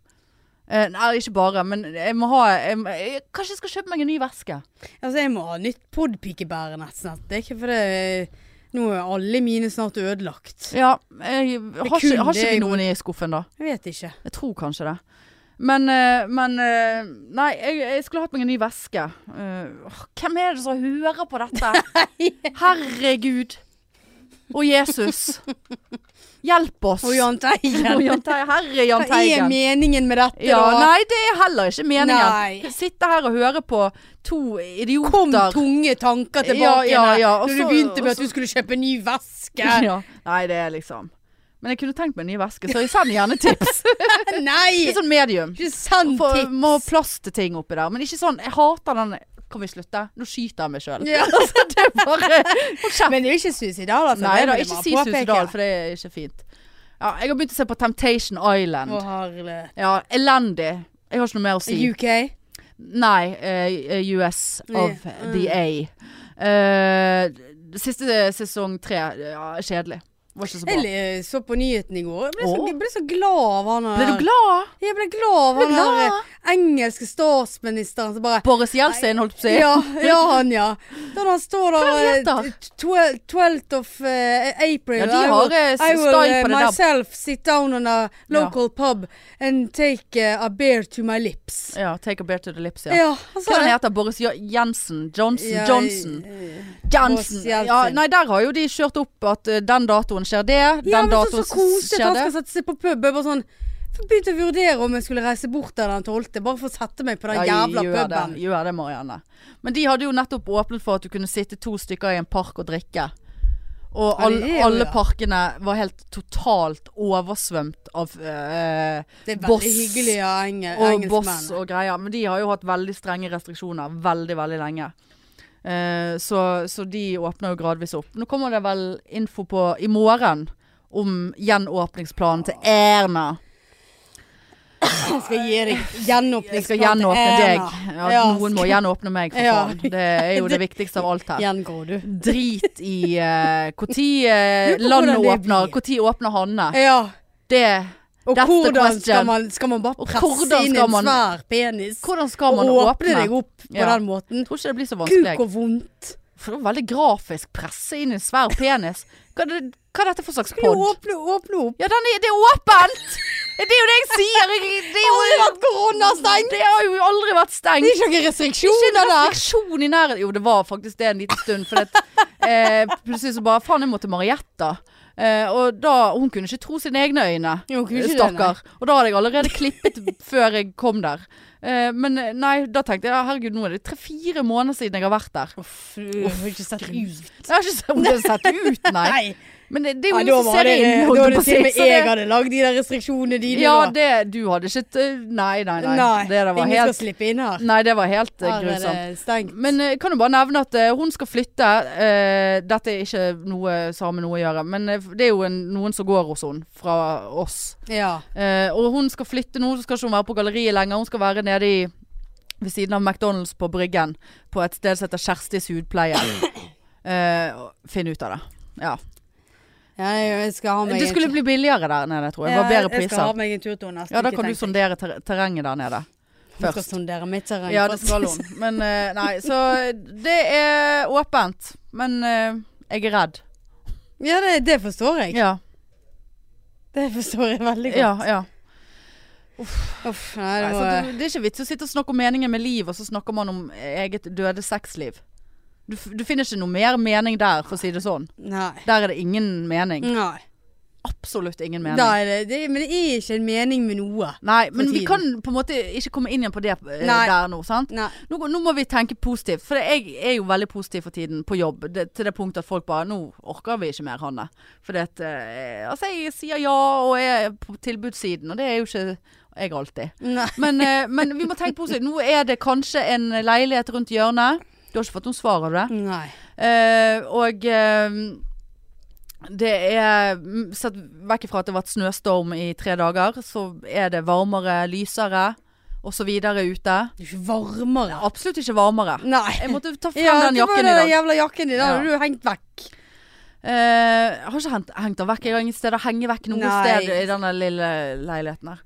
Speaker 1: Eh, nei, ikke bare, men jeg må ha jeg, må- jeg, Kanskje jeg skal kjøpe meg en ny veske?
Speaker 2: Altså, jeg må ha nytt podpikebære nesten. Det er ikke for det Nå er alle mine snart ødelagt.
Speaker 1: Ja. Jeg, har,
Speaker 2: kun
Speaker 1: ikke, har
Speaker 2: det
Speaker 1: ikke vi
Speaker 2: jeg
Speaker 1: noen i skuffen, da?
Speaker 2: Jeg vet ikke.
Speaker 1: Jeg tror kanskje det. Men, eh, men eh, Nei, jeg, jeg skulle hatt meg en ny veske. Eh, åh, hvem er det som hører på
Speaker 2: (laughs)
Speaker 1: dette? Herregud. Og Jesus. Hjelp oss.
Speaker 2: Og Jahn
Speaker 1: (laughs) Og
Speaker 2: Teigen.
Speaker 1: Jahn Tei- Herre Jahn
Speaker 2: Hva er
Speaker 1: Teigen.
Speaker 2: meningen med dette,
Speaker 1: Ja,
Speaker 2: da?
Speaker 1: nei, det er heller ikke meningen.
Speaker 2: Nei.
Speaker 1: Sitte her og høre på to idioter.
Speaker 2: Kom tunge tanker tilbake
Speaker 1: Ja, ja,
Speaker 2: igjen,
Speaker 1: ja, og
Speaker 2: Når du
Speaker 1: så-
Speaker 2: begynte
Speaker 1: og
Speaker 2: med at du skulle kjøpe ny veske.
Speaker 1: (laughs) Ja. Nei, det er liksom Men jeg kunne tenkt meg en ny veske, så jeg send gjerne (laughs) tips.
Speaker 2: Nei!
Speaker 1: Litt sånn medium.
Speaker 2: Ikke send
Speaker 1: For,
Speaker 2: tips.
Speaker 1: må ha plass til ting oppi der. Men ikke sånn Jeg hater den Kan vi slutte? Nå skyter jeg meg sjøl.
Speaker 2: (laughs) Ja.
Speaker 1: Altså, det er (laughs) bare Hold kjeft.
Speaker 2: Men det er jo ikke suicidal, altså.
Speaker 1: Nei da,
Speaker 2: Det vil jeg
Speaker 1: ikke
Speaker 2: bare
Speaker 1: si
Speaker 2: påpeke.
Speaker 1: Susedal, for det er ikke fint. Ja, jeg har begynt å se på Temptation Island.
Speaker 2: Å, herre.
Speaker 1: Ja, elendig. Jeg har ikke noe mer å si.
Speaker 2: UK?
Speaker 1: Nei, eh, US of
Speaker 2: Ja,
Speaker 1: the A. Eh, siste sesong tre, ja, kjedelig. Var ikke så
Speaker 2: Jeg
Speaker 1: bra.
Speaker 2: eh, så på nyheten i går. Jeg ble, så,
Speaker 1: Åh.
Speaker 2: jeg ble så glad av han
Speaker 1: Ble du
Speaker 2: her.
Speaker 1: glad?
Speaker 2: Jeg ble glad av han
Speaker 1: Ble glad?
Speaker 2: her eh, engelske statsministeren som bare
Speaker 1: Boris Jeltsin, holdt på å si.
Speaker 2: ja, ja, han, ja. Da han står der
Speaker 1: Hva
Speaker 2: eh,
Speaker 1: heter?
Speaker 2: t- twel- 12th of eh, April
Speaker 1: Ja, de
Speaker 2: I
Speaker 1: har,
Speaker 2: will-
Speaker 1: eh, s-
Speaker 2: I will
Speaker 1: style
Speaker 2: eh,
Speaker 1: på det der.
Speaker 2: myself sit down on a local pub and take eh, a beer to my lips.
Speaker 1: Ja, Take a bear to the lips, ja.
Speaker 2: Ja,
Speaker 1: Hva
Speaker 2: han sa
Speaker 1: han
Speaker 2: det.
Speaker 1: heter Boris Jo- Jensen? Johnson?
Speaker 2: Ja,
Speaker 1: Johnson?
Speaker 2: eh,
Speaker 1: Johnson.
Speaker 2: Boris Jeltsin.
Speaker 1: Ja, nei, der har jo de kjørt opp at eh, den datoen skjer det,
Speaker 2: Ja,
Speaker 1: den
Speaker 2: men så,
Speaker 1: datoen
Speaker 2: så koselig at
Speaker 1: skjer
Speaker 2: han
Speaker 1: det.
Speaker 2: skal sette seg på pub. Jeg bare sånn for jeg begynte å vurdere om jeg skulle reise bort der den 12., bare for å sette meg på den jævla
Speaker 1: gjør
Speaker 2: puben.
Speaker 1: Det, gjør det, Marianne. Men de hadde jo nettopp åpnet for at du kunne sitte to stykker i en park og drikke. Og
Speaker 2: Ja,
Speaker 1: all,
Speaker 2: det er jo
Speaker 1: alle
Speaker 2: det.
Speaker 1: parkene var helt totalt oversvømt av eh,
Speaker 2: Det er veldig
Speaker 1: boss
Speaker 2: hyggelig av enge,
Speaker 1: og boss
Speaker 2: engelskmenn.
Speaker 1: og greier. Men de har jo hatt veldig strenge restriksjoner veldig, veldig lenge. Eh, så, så de åpner jo gradvis opp. Nå kommer det vel info på i morgen om gjenåpningsplanen til Erna.
Speaker 2: Han skal gi deg
Speaker 1: Jeg
Speaker 2: gjenåpningsplan
Speaker 1: skal gjenåpne deg. Ja, noen må
Speaker 2: skal-
Speaker 1: gjenåpne meg, for
Speaker 2: Ja.
Speaker 1: faen. Det er
Speaker 2: (laughs)
Speaker 1: jo det viktigste av alt her.
Speaker 2: Gjengår du.
Speaker 1: Drit i
Speaker 2: (laughs)
Speaker 1: eh, hvor tid eh,
Speaker 2: Lurer på hvordan
Speaker 1: landet
Speaker 2: det
Speaker 1: åpner,
Speaker 2: blir.
Speaker 1: når åpner Hanne.
Speaker 2: Ja.
Speaker 1: Det,
Speaker 2: Og
Speaker 1: That's the
Speaker 2: hvordan skal
Speaker 1: question.
Speaker 2: man, skal man bare
Speaker 1: Og
Speaker 2: presse
Speaker 1: hvordan
Speaker 2: inn
Speaker 1: skal
Speaker 2: en
Speaker 1: man-
Speaker 2: svær penis?
Speaker 1: hvordan skal man
Speaker 2: og
Speaker 1: åpne?
Speaker 2: deg opp på
Speaker 1: Ja.
Speaker 2: den måten?
Speaker 1: Jeg tror ikke det blir så vanskelig.
Speaker 2: Kuk og vondt.
Speaker 1: For det var veldig grafisk. Presse inn en svær penis. Hva, er det, hva er dette for slags
Speaker 2: Skal du
Speaker 1: pod?
Speaker 2: åpne, åpne opp?
Speaker 1: Ja, den er, det er åpent! Det er jo det jeg sier! Jeg, det, er
Speaker 2: Aldri
Speaker 1: jo,
Speaker 2: vært koronastengt!
Speaker 1: det har jo aldri vært
Speaker 2: Det
Speaker 1: stengt.
Speaker 2: er ikke noen
Speaker 1: Ikke en
Speaker 2: restriksjoner der!
Speaker 1: restriksjon i nærheten. Jo, det var faktisk det en liten stund. For det, eh, plutselig så bare Faen, jeg må til Marietta. Eh, og da, hun kunne ikke tro sine egne øyne.
Speaker 2: Jo, kunne ikke det, nei.
Speaker 1: Stakkar. Og da hadde jeg allerede klippet før jeg kom der. Eh, men eh, nei, da tenkte jeg ja, herregud, nå er det tre-fire måneder siden jeg har vært der.
Speaker 2: Uff, du har ikke sett ut.
Speaker 1: Jeg har ikke sett om det har sett ut, nei.
Speaker 2: (laughs) Nei.
Speaker 1: Men det, det er jo
Speaker 2: Ja, da
Speaker 1: ingen som
Speaker 2: var
Speaker 1: ser
Speaker 2: det,
Speaker 1: inn. holdt
Speaker 2: da
Speaker 1: jeg på
Speaker 2: er det
Speaker 1: å si,
Speaker 2: til og med
Speaker 1: så det-
Speaker 2: jeg hadde lagd de der restriksjonene dine.
Speaker 1: Ja,
Speaker 2: da.
Speaker 1: det, du hadde ikke t- Nei, nei, nei.
Speaker 2: Nei,
Speaker 1: det der var
Speaker 2: ingen
Speaker 1: helt,
Speaker 2: skal slippe inn her.
Speaker 1: nei, det var helt eh,
Speaker 2: Her er
Speaker 1: grusomt.
Speaker 2: det stengt.
Speaker 1: Men eh, kan du bare nevne at eh, hun skal flytte. eh, dette er ikke noe som har med noe å gjøre, men eh, det er jo en, noen som går hos henne fra oss.
Speaker 2: ja.
Speaker 1: Eh, og hun skal flytte nå, så skal ikke hun være på galleriet lenger. Hun skal være nede i ved siden av McDonald's på Bryggen, på et sted som heter Kjerstis hudpleie. Eh, og finn ut av det. Ja.
Speaker 2: ja, jeg skal ha meg
Speaker 1: Det skulle bli billigere der nede, tror jeg. Det var bedre
Speaker 2: Jeg skal ha
Speaker 1: priser.
Speaker 2: meg en tur til henne neste
Speaker 1: Ja, da
Speaker 2: uke,
Speaker 1: kan du
Speaker 2: tenkte jeg.
Speaker 1: sondere ter terrenget der nede.
Speaker 2: Hun skal
Speaker 1: først.
Speaker 2: sondere mitt terreng.
Speaker 1: Ja, det
Speaker 2: først.
Speaker 1: skal hun. Men eh, nei, så det er åpent. Men eh, jeg er redd.
Speaker 2: Ja, det, det forstår jeg.
Speaker 1: Ja,
Speaker 2: Det forstår jeg veldig godt.
Speaker 1: ja. ja.
Speaker 2: Uff, nei, det
Speaker 1: Nei, så
Speaker 2: var,
Speaker 1: det, det er ikke vits å sitte og snakke om meningen med liv, og så snakker man om eget døde sexliv. Du, f- du finner ikke noe mer mening der, for å si det sånn.
Speaker 2: nei.
Speaker 1: Der er det ingen mening.
Speaker 2: nei.
Speaker 1: Absolutt ingen mening.
Speaker 2: Da er det, det, men det er ikke en mening med noe.
Speaker 1: Nei, men
Speaker 2: For
Speaker 1: vi
Speaker 2: tiden.
Speaker 1: kan på en måte ikke komme inn igjen på det eh,
Speaker 2: Nei.
Speaker 1: der nå, sant?
Speaker 2: Nei.
Speaker 1: Nå, nå må vi tenke positivt, for jeg er jo veldig positiv for tiden på jobb. Det, til det punktet at folk bare 'Nå orker vi ikke mer, Hanne'. For det at eh, Altså, jeg sier ja, og er på tilbudssiden, og det er jo ikke jeg alltid.
Speaker 2: Nei.
Speaker 1: Men, eh, men vi må tenke positivt. Nå er det kanskje en leilighet rundt hjørnet. Du har ikke fått noe svar av det.
Speaker 2: Nei.
Speaker 1: Eh, og eh, det er mm, Sett vekk ifra at det har vært snøstorm i tre dager, så er det varmere, lysere osv. ute.
Speaker 2: Det er ikke varmere.
Speaker 1: Absolutt ikke varmere.
Speaker 2: Nei.
Speaker 1: Jeg måtte ta frem
Speaker 2: Ja,
Speaker 1: den
Speaker 2: det var
Speaker 1: jakken i
Speaker 2: den
Speaker 1: dag.
Speaker 2: jævla jakken din. Den
Speaker 1: Ja.
Speaker 2: hadde du hengt vekk.
Speaker 1: Eh, jeg har ikke hengt, hengt den vekk. Jeg har ingen sted å henge vekk noe
Speaker 2: Nei.
Speaker 1: sted i denne lille leiligheten her.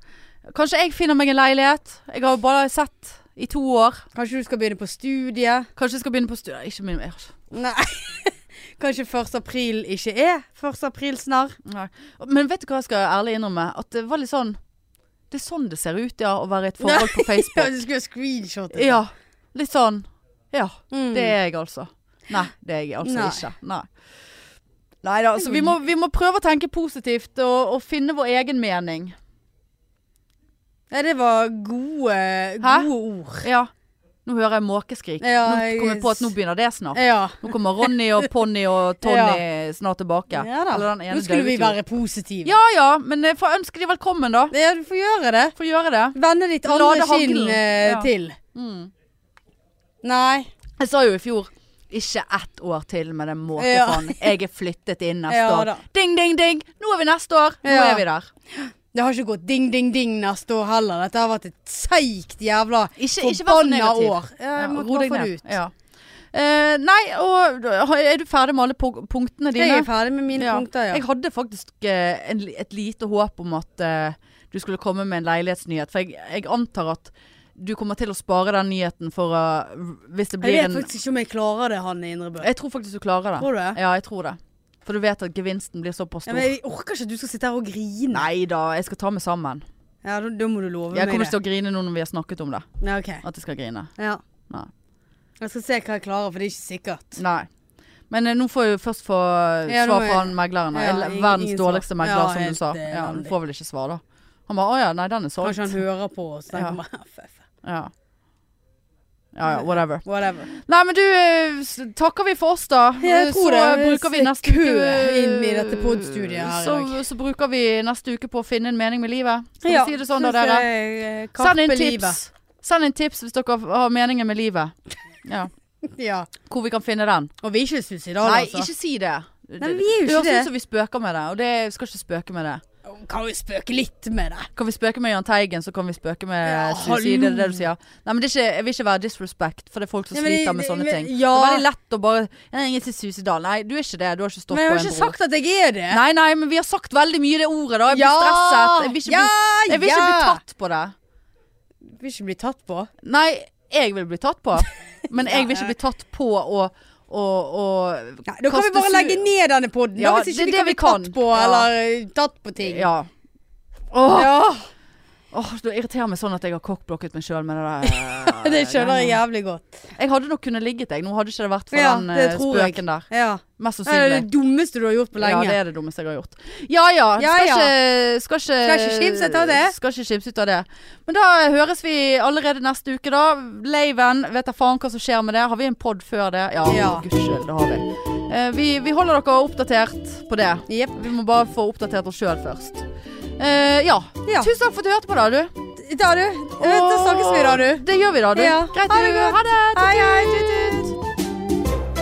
Speaker 1: Kanskje jeg finner meg en leilighet. Jeg har bare sett i to år.
Speaker 2: Kanskje du skal begynne på studie.
Speaker 1: Kanskje jeg skal begynne på studiet. Ikke min, jeg har ikke-
Speaker 2: Nei. (laughs) Kanskje 1. april ikke er 1. april snart.
Speaker 1: Nei. Men vet du hva jeg skal ærlig innrømme? At det var litt sånn Det er sånn det ser ut, ja, å være i et forhold på
Speaker 2: (laughs) Ja,
Speaker 1: Facebook.
Speaker 2: du skulle screenshotte. det.
Speaker 1: Ja. Litt sånn. Ja.
Speaker 2: Mm.
Speaker 1: Det er jeg altså. Nei, det er jeg altså
Speaker 2: Nei.
Speaker 1: ikke. Nei. Nei da, altså vi må, vi må prøve å tenke positivt og, og finne vår egen mening.
Speaker 2: Nei, det var gode, gode ord.
Speaker 1: Ja. Nå hører jeg måkeskrik.
Speaker 2: Ja,
Speaker 1: nå kom jeg på at nå begynner det snart.
Speaker 2: Ja.
Speaker 1: Nå kommer Ronny og Ponni og Tony snart tilbake.
Speaker 2: Ja da.
Speaker 1: Eller den ene
Speaker 2: Nå skulle
Speaker 1: døde ut
Speaker 2: vi
Speaker 1: jo.
Speaker 2: være positive.
Speaker 1: Ja ja, men jeg får ønske de velkommen, da.
Speaker 2: Ja, du får gjøre det.
Speaker 1: Får gjøre det.
Speaker 2: Vende ditt
Speaker 1: Lade
Speaker 2: andre skinn
Speaker 1: haglen.
Speaker 2: eh,
Speaker 1: Ja. Mm.
Speaker 2: til. Nei.
Speaker 1: Jeg sa jo i fjor ikke ett år til med den
Speaker 2: Ja.
Speaker 1: måkefaen. Jeg er flyttet inn neste
Speaker 2: (laughs) Ja da.
Speaker 1: år. Ding, ding, ding! Nå er vi neste år! Nå
Speaker 2: Ja.
Speaker 1: er vi der.
Speaker 2: Det har ikke gått ding, ding, ding neste år heller. Dette har vært et seigt jævla
Speaker 1: Ikke, ikke vær så negativ.
Speaker 2: år. Ja,
Speaker 1: Ja,
Speaker 2: jeg må
Speaker 1: ro deg
Speaker 2: få det
Speaker 1: ned.
Speaker 2: ut.
Speaker 1: Ja. Eh, nei, og er du ferdig med alle pu- punktene dine?
Speaker 2: Jeg er ferdig med mine
Speaker 1: Ja.
Speaker 2: punkter, ja.
Speaker 1: Jeg hadde faktisk eh, en, li- et lite håp om at eh, du skulle komme med en leilighetsnyhet. For jeg, jeg antar at du kommer til å spare den nyheten for eh, hvis det
Speaker 2: Jeg
Speaker 1: blir
Speaker 2: vet
Speaker 1: en
Speaker 2: faktisk ikke om jeg klarer det, Hanne Indrebø.
Speaker 1: Jeg tror faktisk du klarer det.
Speaker 2: Tror du det?
Speaker 1: Ja, jeg tror det. For du vet at gevinsten blir såpass stor.
Speaker 2: Ja, men jeg orker ikke at du skal sitte her og grine.
Speaker 1: Nei da, jeg skal ta meg sammen.
Speaker 2: Ja, da, da må du love
Speaker 1: Jeg
Speaker 2: meg
Speaker 1: kommer
Speaker 2: det.
Speaker 1: ikke til å grine nå når vi har snakket om det.
Speaker 2: Ja, ok.
Speaker 1: At jeg skal grine.
Speaker 2: Ja.
Speaker 1: Nei.
Speaker 2: Jeg skal se hva jeg klarer, for det er ikke sikkert.
Speaker 1: Nei. Men eh, nå får jeg jo først få
Speaker 2: Ja, nå
Speaker 1: svar
Speaker 2: er-
Speaker 1: fra han megleren.
Speaker 2: Ja,
Speaker 1: eller
Speaker 2: ingen-
Speaker 1: verdens
Speaker 2: ingen svar.
Speaker 1: dårligste megler,
Speaker 2: Ja,
Speaker 1: som du
Speaker 2: helt,
Speaker 1: sa.
Speaker 2: eh,
Speaker 1: Ja, du
Speaker 2: elendig.
Speaker 1: får vel ikke svar, da. Han bare 'Å ja, nei, den er solgt'.
Speaker 2: Kanskje han hører på og
Speaker 1: Ja.
Speaker 2: snakker med FF.
Speaker 1: Ja. ja ja, whatever.
Speaker 2: (laughs) Whatever.
Speaker 1: Nei, men du, eh, s- takker vi for oss, da.
Speaker 2: Ja, jeg
Speaker 1: så
Speaker 2: tror det.
Speaker 1: eh,
Speaker 2: Det er
Speaker 1: bruker vi
Speaker 2: litt
Speaker 1: neste
Speaker 2: kø
Speaker 1: uke eh,
Speaker 2: inn i dette podstudiet her i
Speaker 1: så, så bruker vi neste uke på å finne en mening med livet. Skal vi si det sånn, da,
Speaker 2: synes
Speaker 1: dere?
Speaker 2: jeg, eh,
Speaker 1: Send inn
Speaker 2: kappe
Speaker 1: tips. Send inn tips hvis dere har meningen med livet. Ja.
Speaker 2: livet. Ja.
Speaker 1: Hvor vi kan finne den.
Speaker 2: Og vi er ikke suicidale,
Speaker 1: Nei,
Speaker 2: altså.
Speaker 1: ikke si det. Det-
Speaker 2: Nei, vi er jo
Speaker 1: det høres
Speaker 2: ikke
Speaker 1: ut
Speaker 2: det.
Speaker 1: som vi spøker med det, og det skal ikke spøke med det.
Speaker 2: Kan jo spøke litt med det.
Speaker 1: Kan vi spøke med Jahn Teigen, så kan vi spøke med
Speaker 2: Ja,
Speaker 1: suicid. Det er det
Speaker 2: hallo.
Speaker 1: du sier. Nei, men det er ikke, jeg vil ikke være disrespect, for det er folk som
Speaker 2: Ja, men det-
Speaker 1: sliter med sånne
Speaker 2: men-
Speaker 1: ting.
Speaker 2: ja.
Speaker 1: Det er veldig lett å bare Jeg er ikke suicidal. Nei, du er ikke det. Du har ikke stått
Speaker 2: Men jeg
Speaker 1: på
Speaker 2: har
Speaker 1: en
Speaker 2: ikke
Speaker 1: bro.
Speaker 2: sagt at jeg er det.
Speaker 1: Nei, nei, men vi har sagt veldig mye det ordet, da. Jeg blir
Speaker 2: Ja,
Speaker 1: stresset. Jeg vil ikke,
Speaker 2: ja,
Speaker 1: bli, jeg vil ikke bli
Speaker 2: ja.
Speaker 1: tatt på det.
Speaker 2: Jeg vil ikke bli tatt på.
Speaker 1: Nei, jeg vil bli tatt på. Men jeg vil ikke bli tatt på å og, og
Speaker 2: Nei, da kan vi
Speaker 1: kaste
Speaker 2: bare
Speaker 1: su-
Speaker 2: legge ned denne podden.
Speaker 1: Ja,
Speaker 2: da, hvis
Speaker 1: det er
Speaker 2: ikke vi
Speaker 1: det
Speaker 2: kan
Speaker 1: vi
Speaker 2: bli eh, tatt
Speaker 1: kan.
Speaker 2: på
Speaker 1: Ja.
Speaker 2: eller eh, tatt på ting.
Speaker 1: Ja. Åh,
Speaker 2: Ja.
Speaker 1: Åh, Det irriterer meg sånn at jeg har cockblokket meg sjøl med det der.
Speaker 2: (laughs) Det skjønner jeg jævlig godt.
Speaker 1: Jeg hadde nok kunnet ligget, jeg. Nå hadde ikke det vært for
Speaker 2: Ja,
Speaker 1: den
Speaker 2: det
Speaker 1: eh,
Speaker 2: tror jeg.
Speaker 1: spøken der.
Speaker 2: Ja.
Speaker 1: Mest
Speaker 2: Det er det
Speaker 1: sannsynlig.
Speaker 2: dummeste du har gjort
Speaker 1: Ja,
Speaker 2: på lenge.
Speaker 1: det er det dummeste jeg har gjort. Ja ja.
Speaker 2: Ja,
Speaker 1: skal,
Speaker 2: ja.
Speaker 1: Ikke, skal ikke
Speaker 2: Skal ikke skimse ut av det.
Speaker 1: Skal ikke skimse ut av det. Men da høres vi allerede neste uke, da. Laven, vet da faen hva som skjer med det. Har vi en pod før det? Ja,
Speaker 2: Ja.
Speaker 1: gudskjelov, det har vi. Eh, vi. Vi holder dere oppdatert på det.
Speaker 2: Jep.
Speaker 1: Vi må bare få oppdatert oss sjøl først. Eh, ja.
Speaker 2: Ja.
Speaker 1: Tusen takk for at du hørte på, da, du.
Speaker 2: Da, du. Da snakkes vi, da, du.
Speaker 1: Det gjør vi, da, du.
Speaker 2: Ja.
Speaker 1: Greit,
Speaker 2: Ha det
Speaker 1: du.
Speaker 2: godt.
Speaker 1: Ha det.
Speaker 2: Hei, hei. Tut, tut.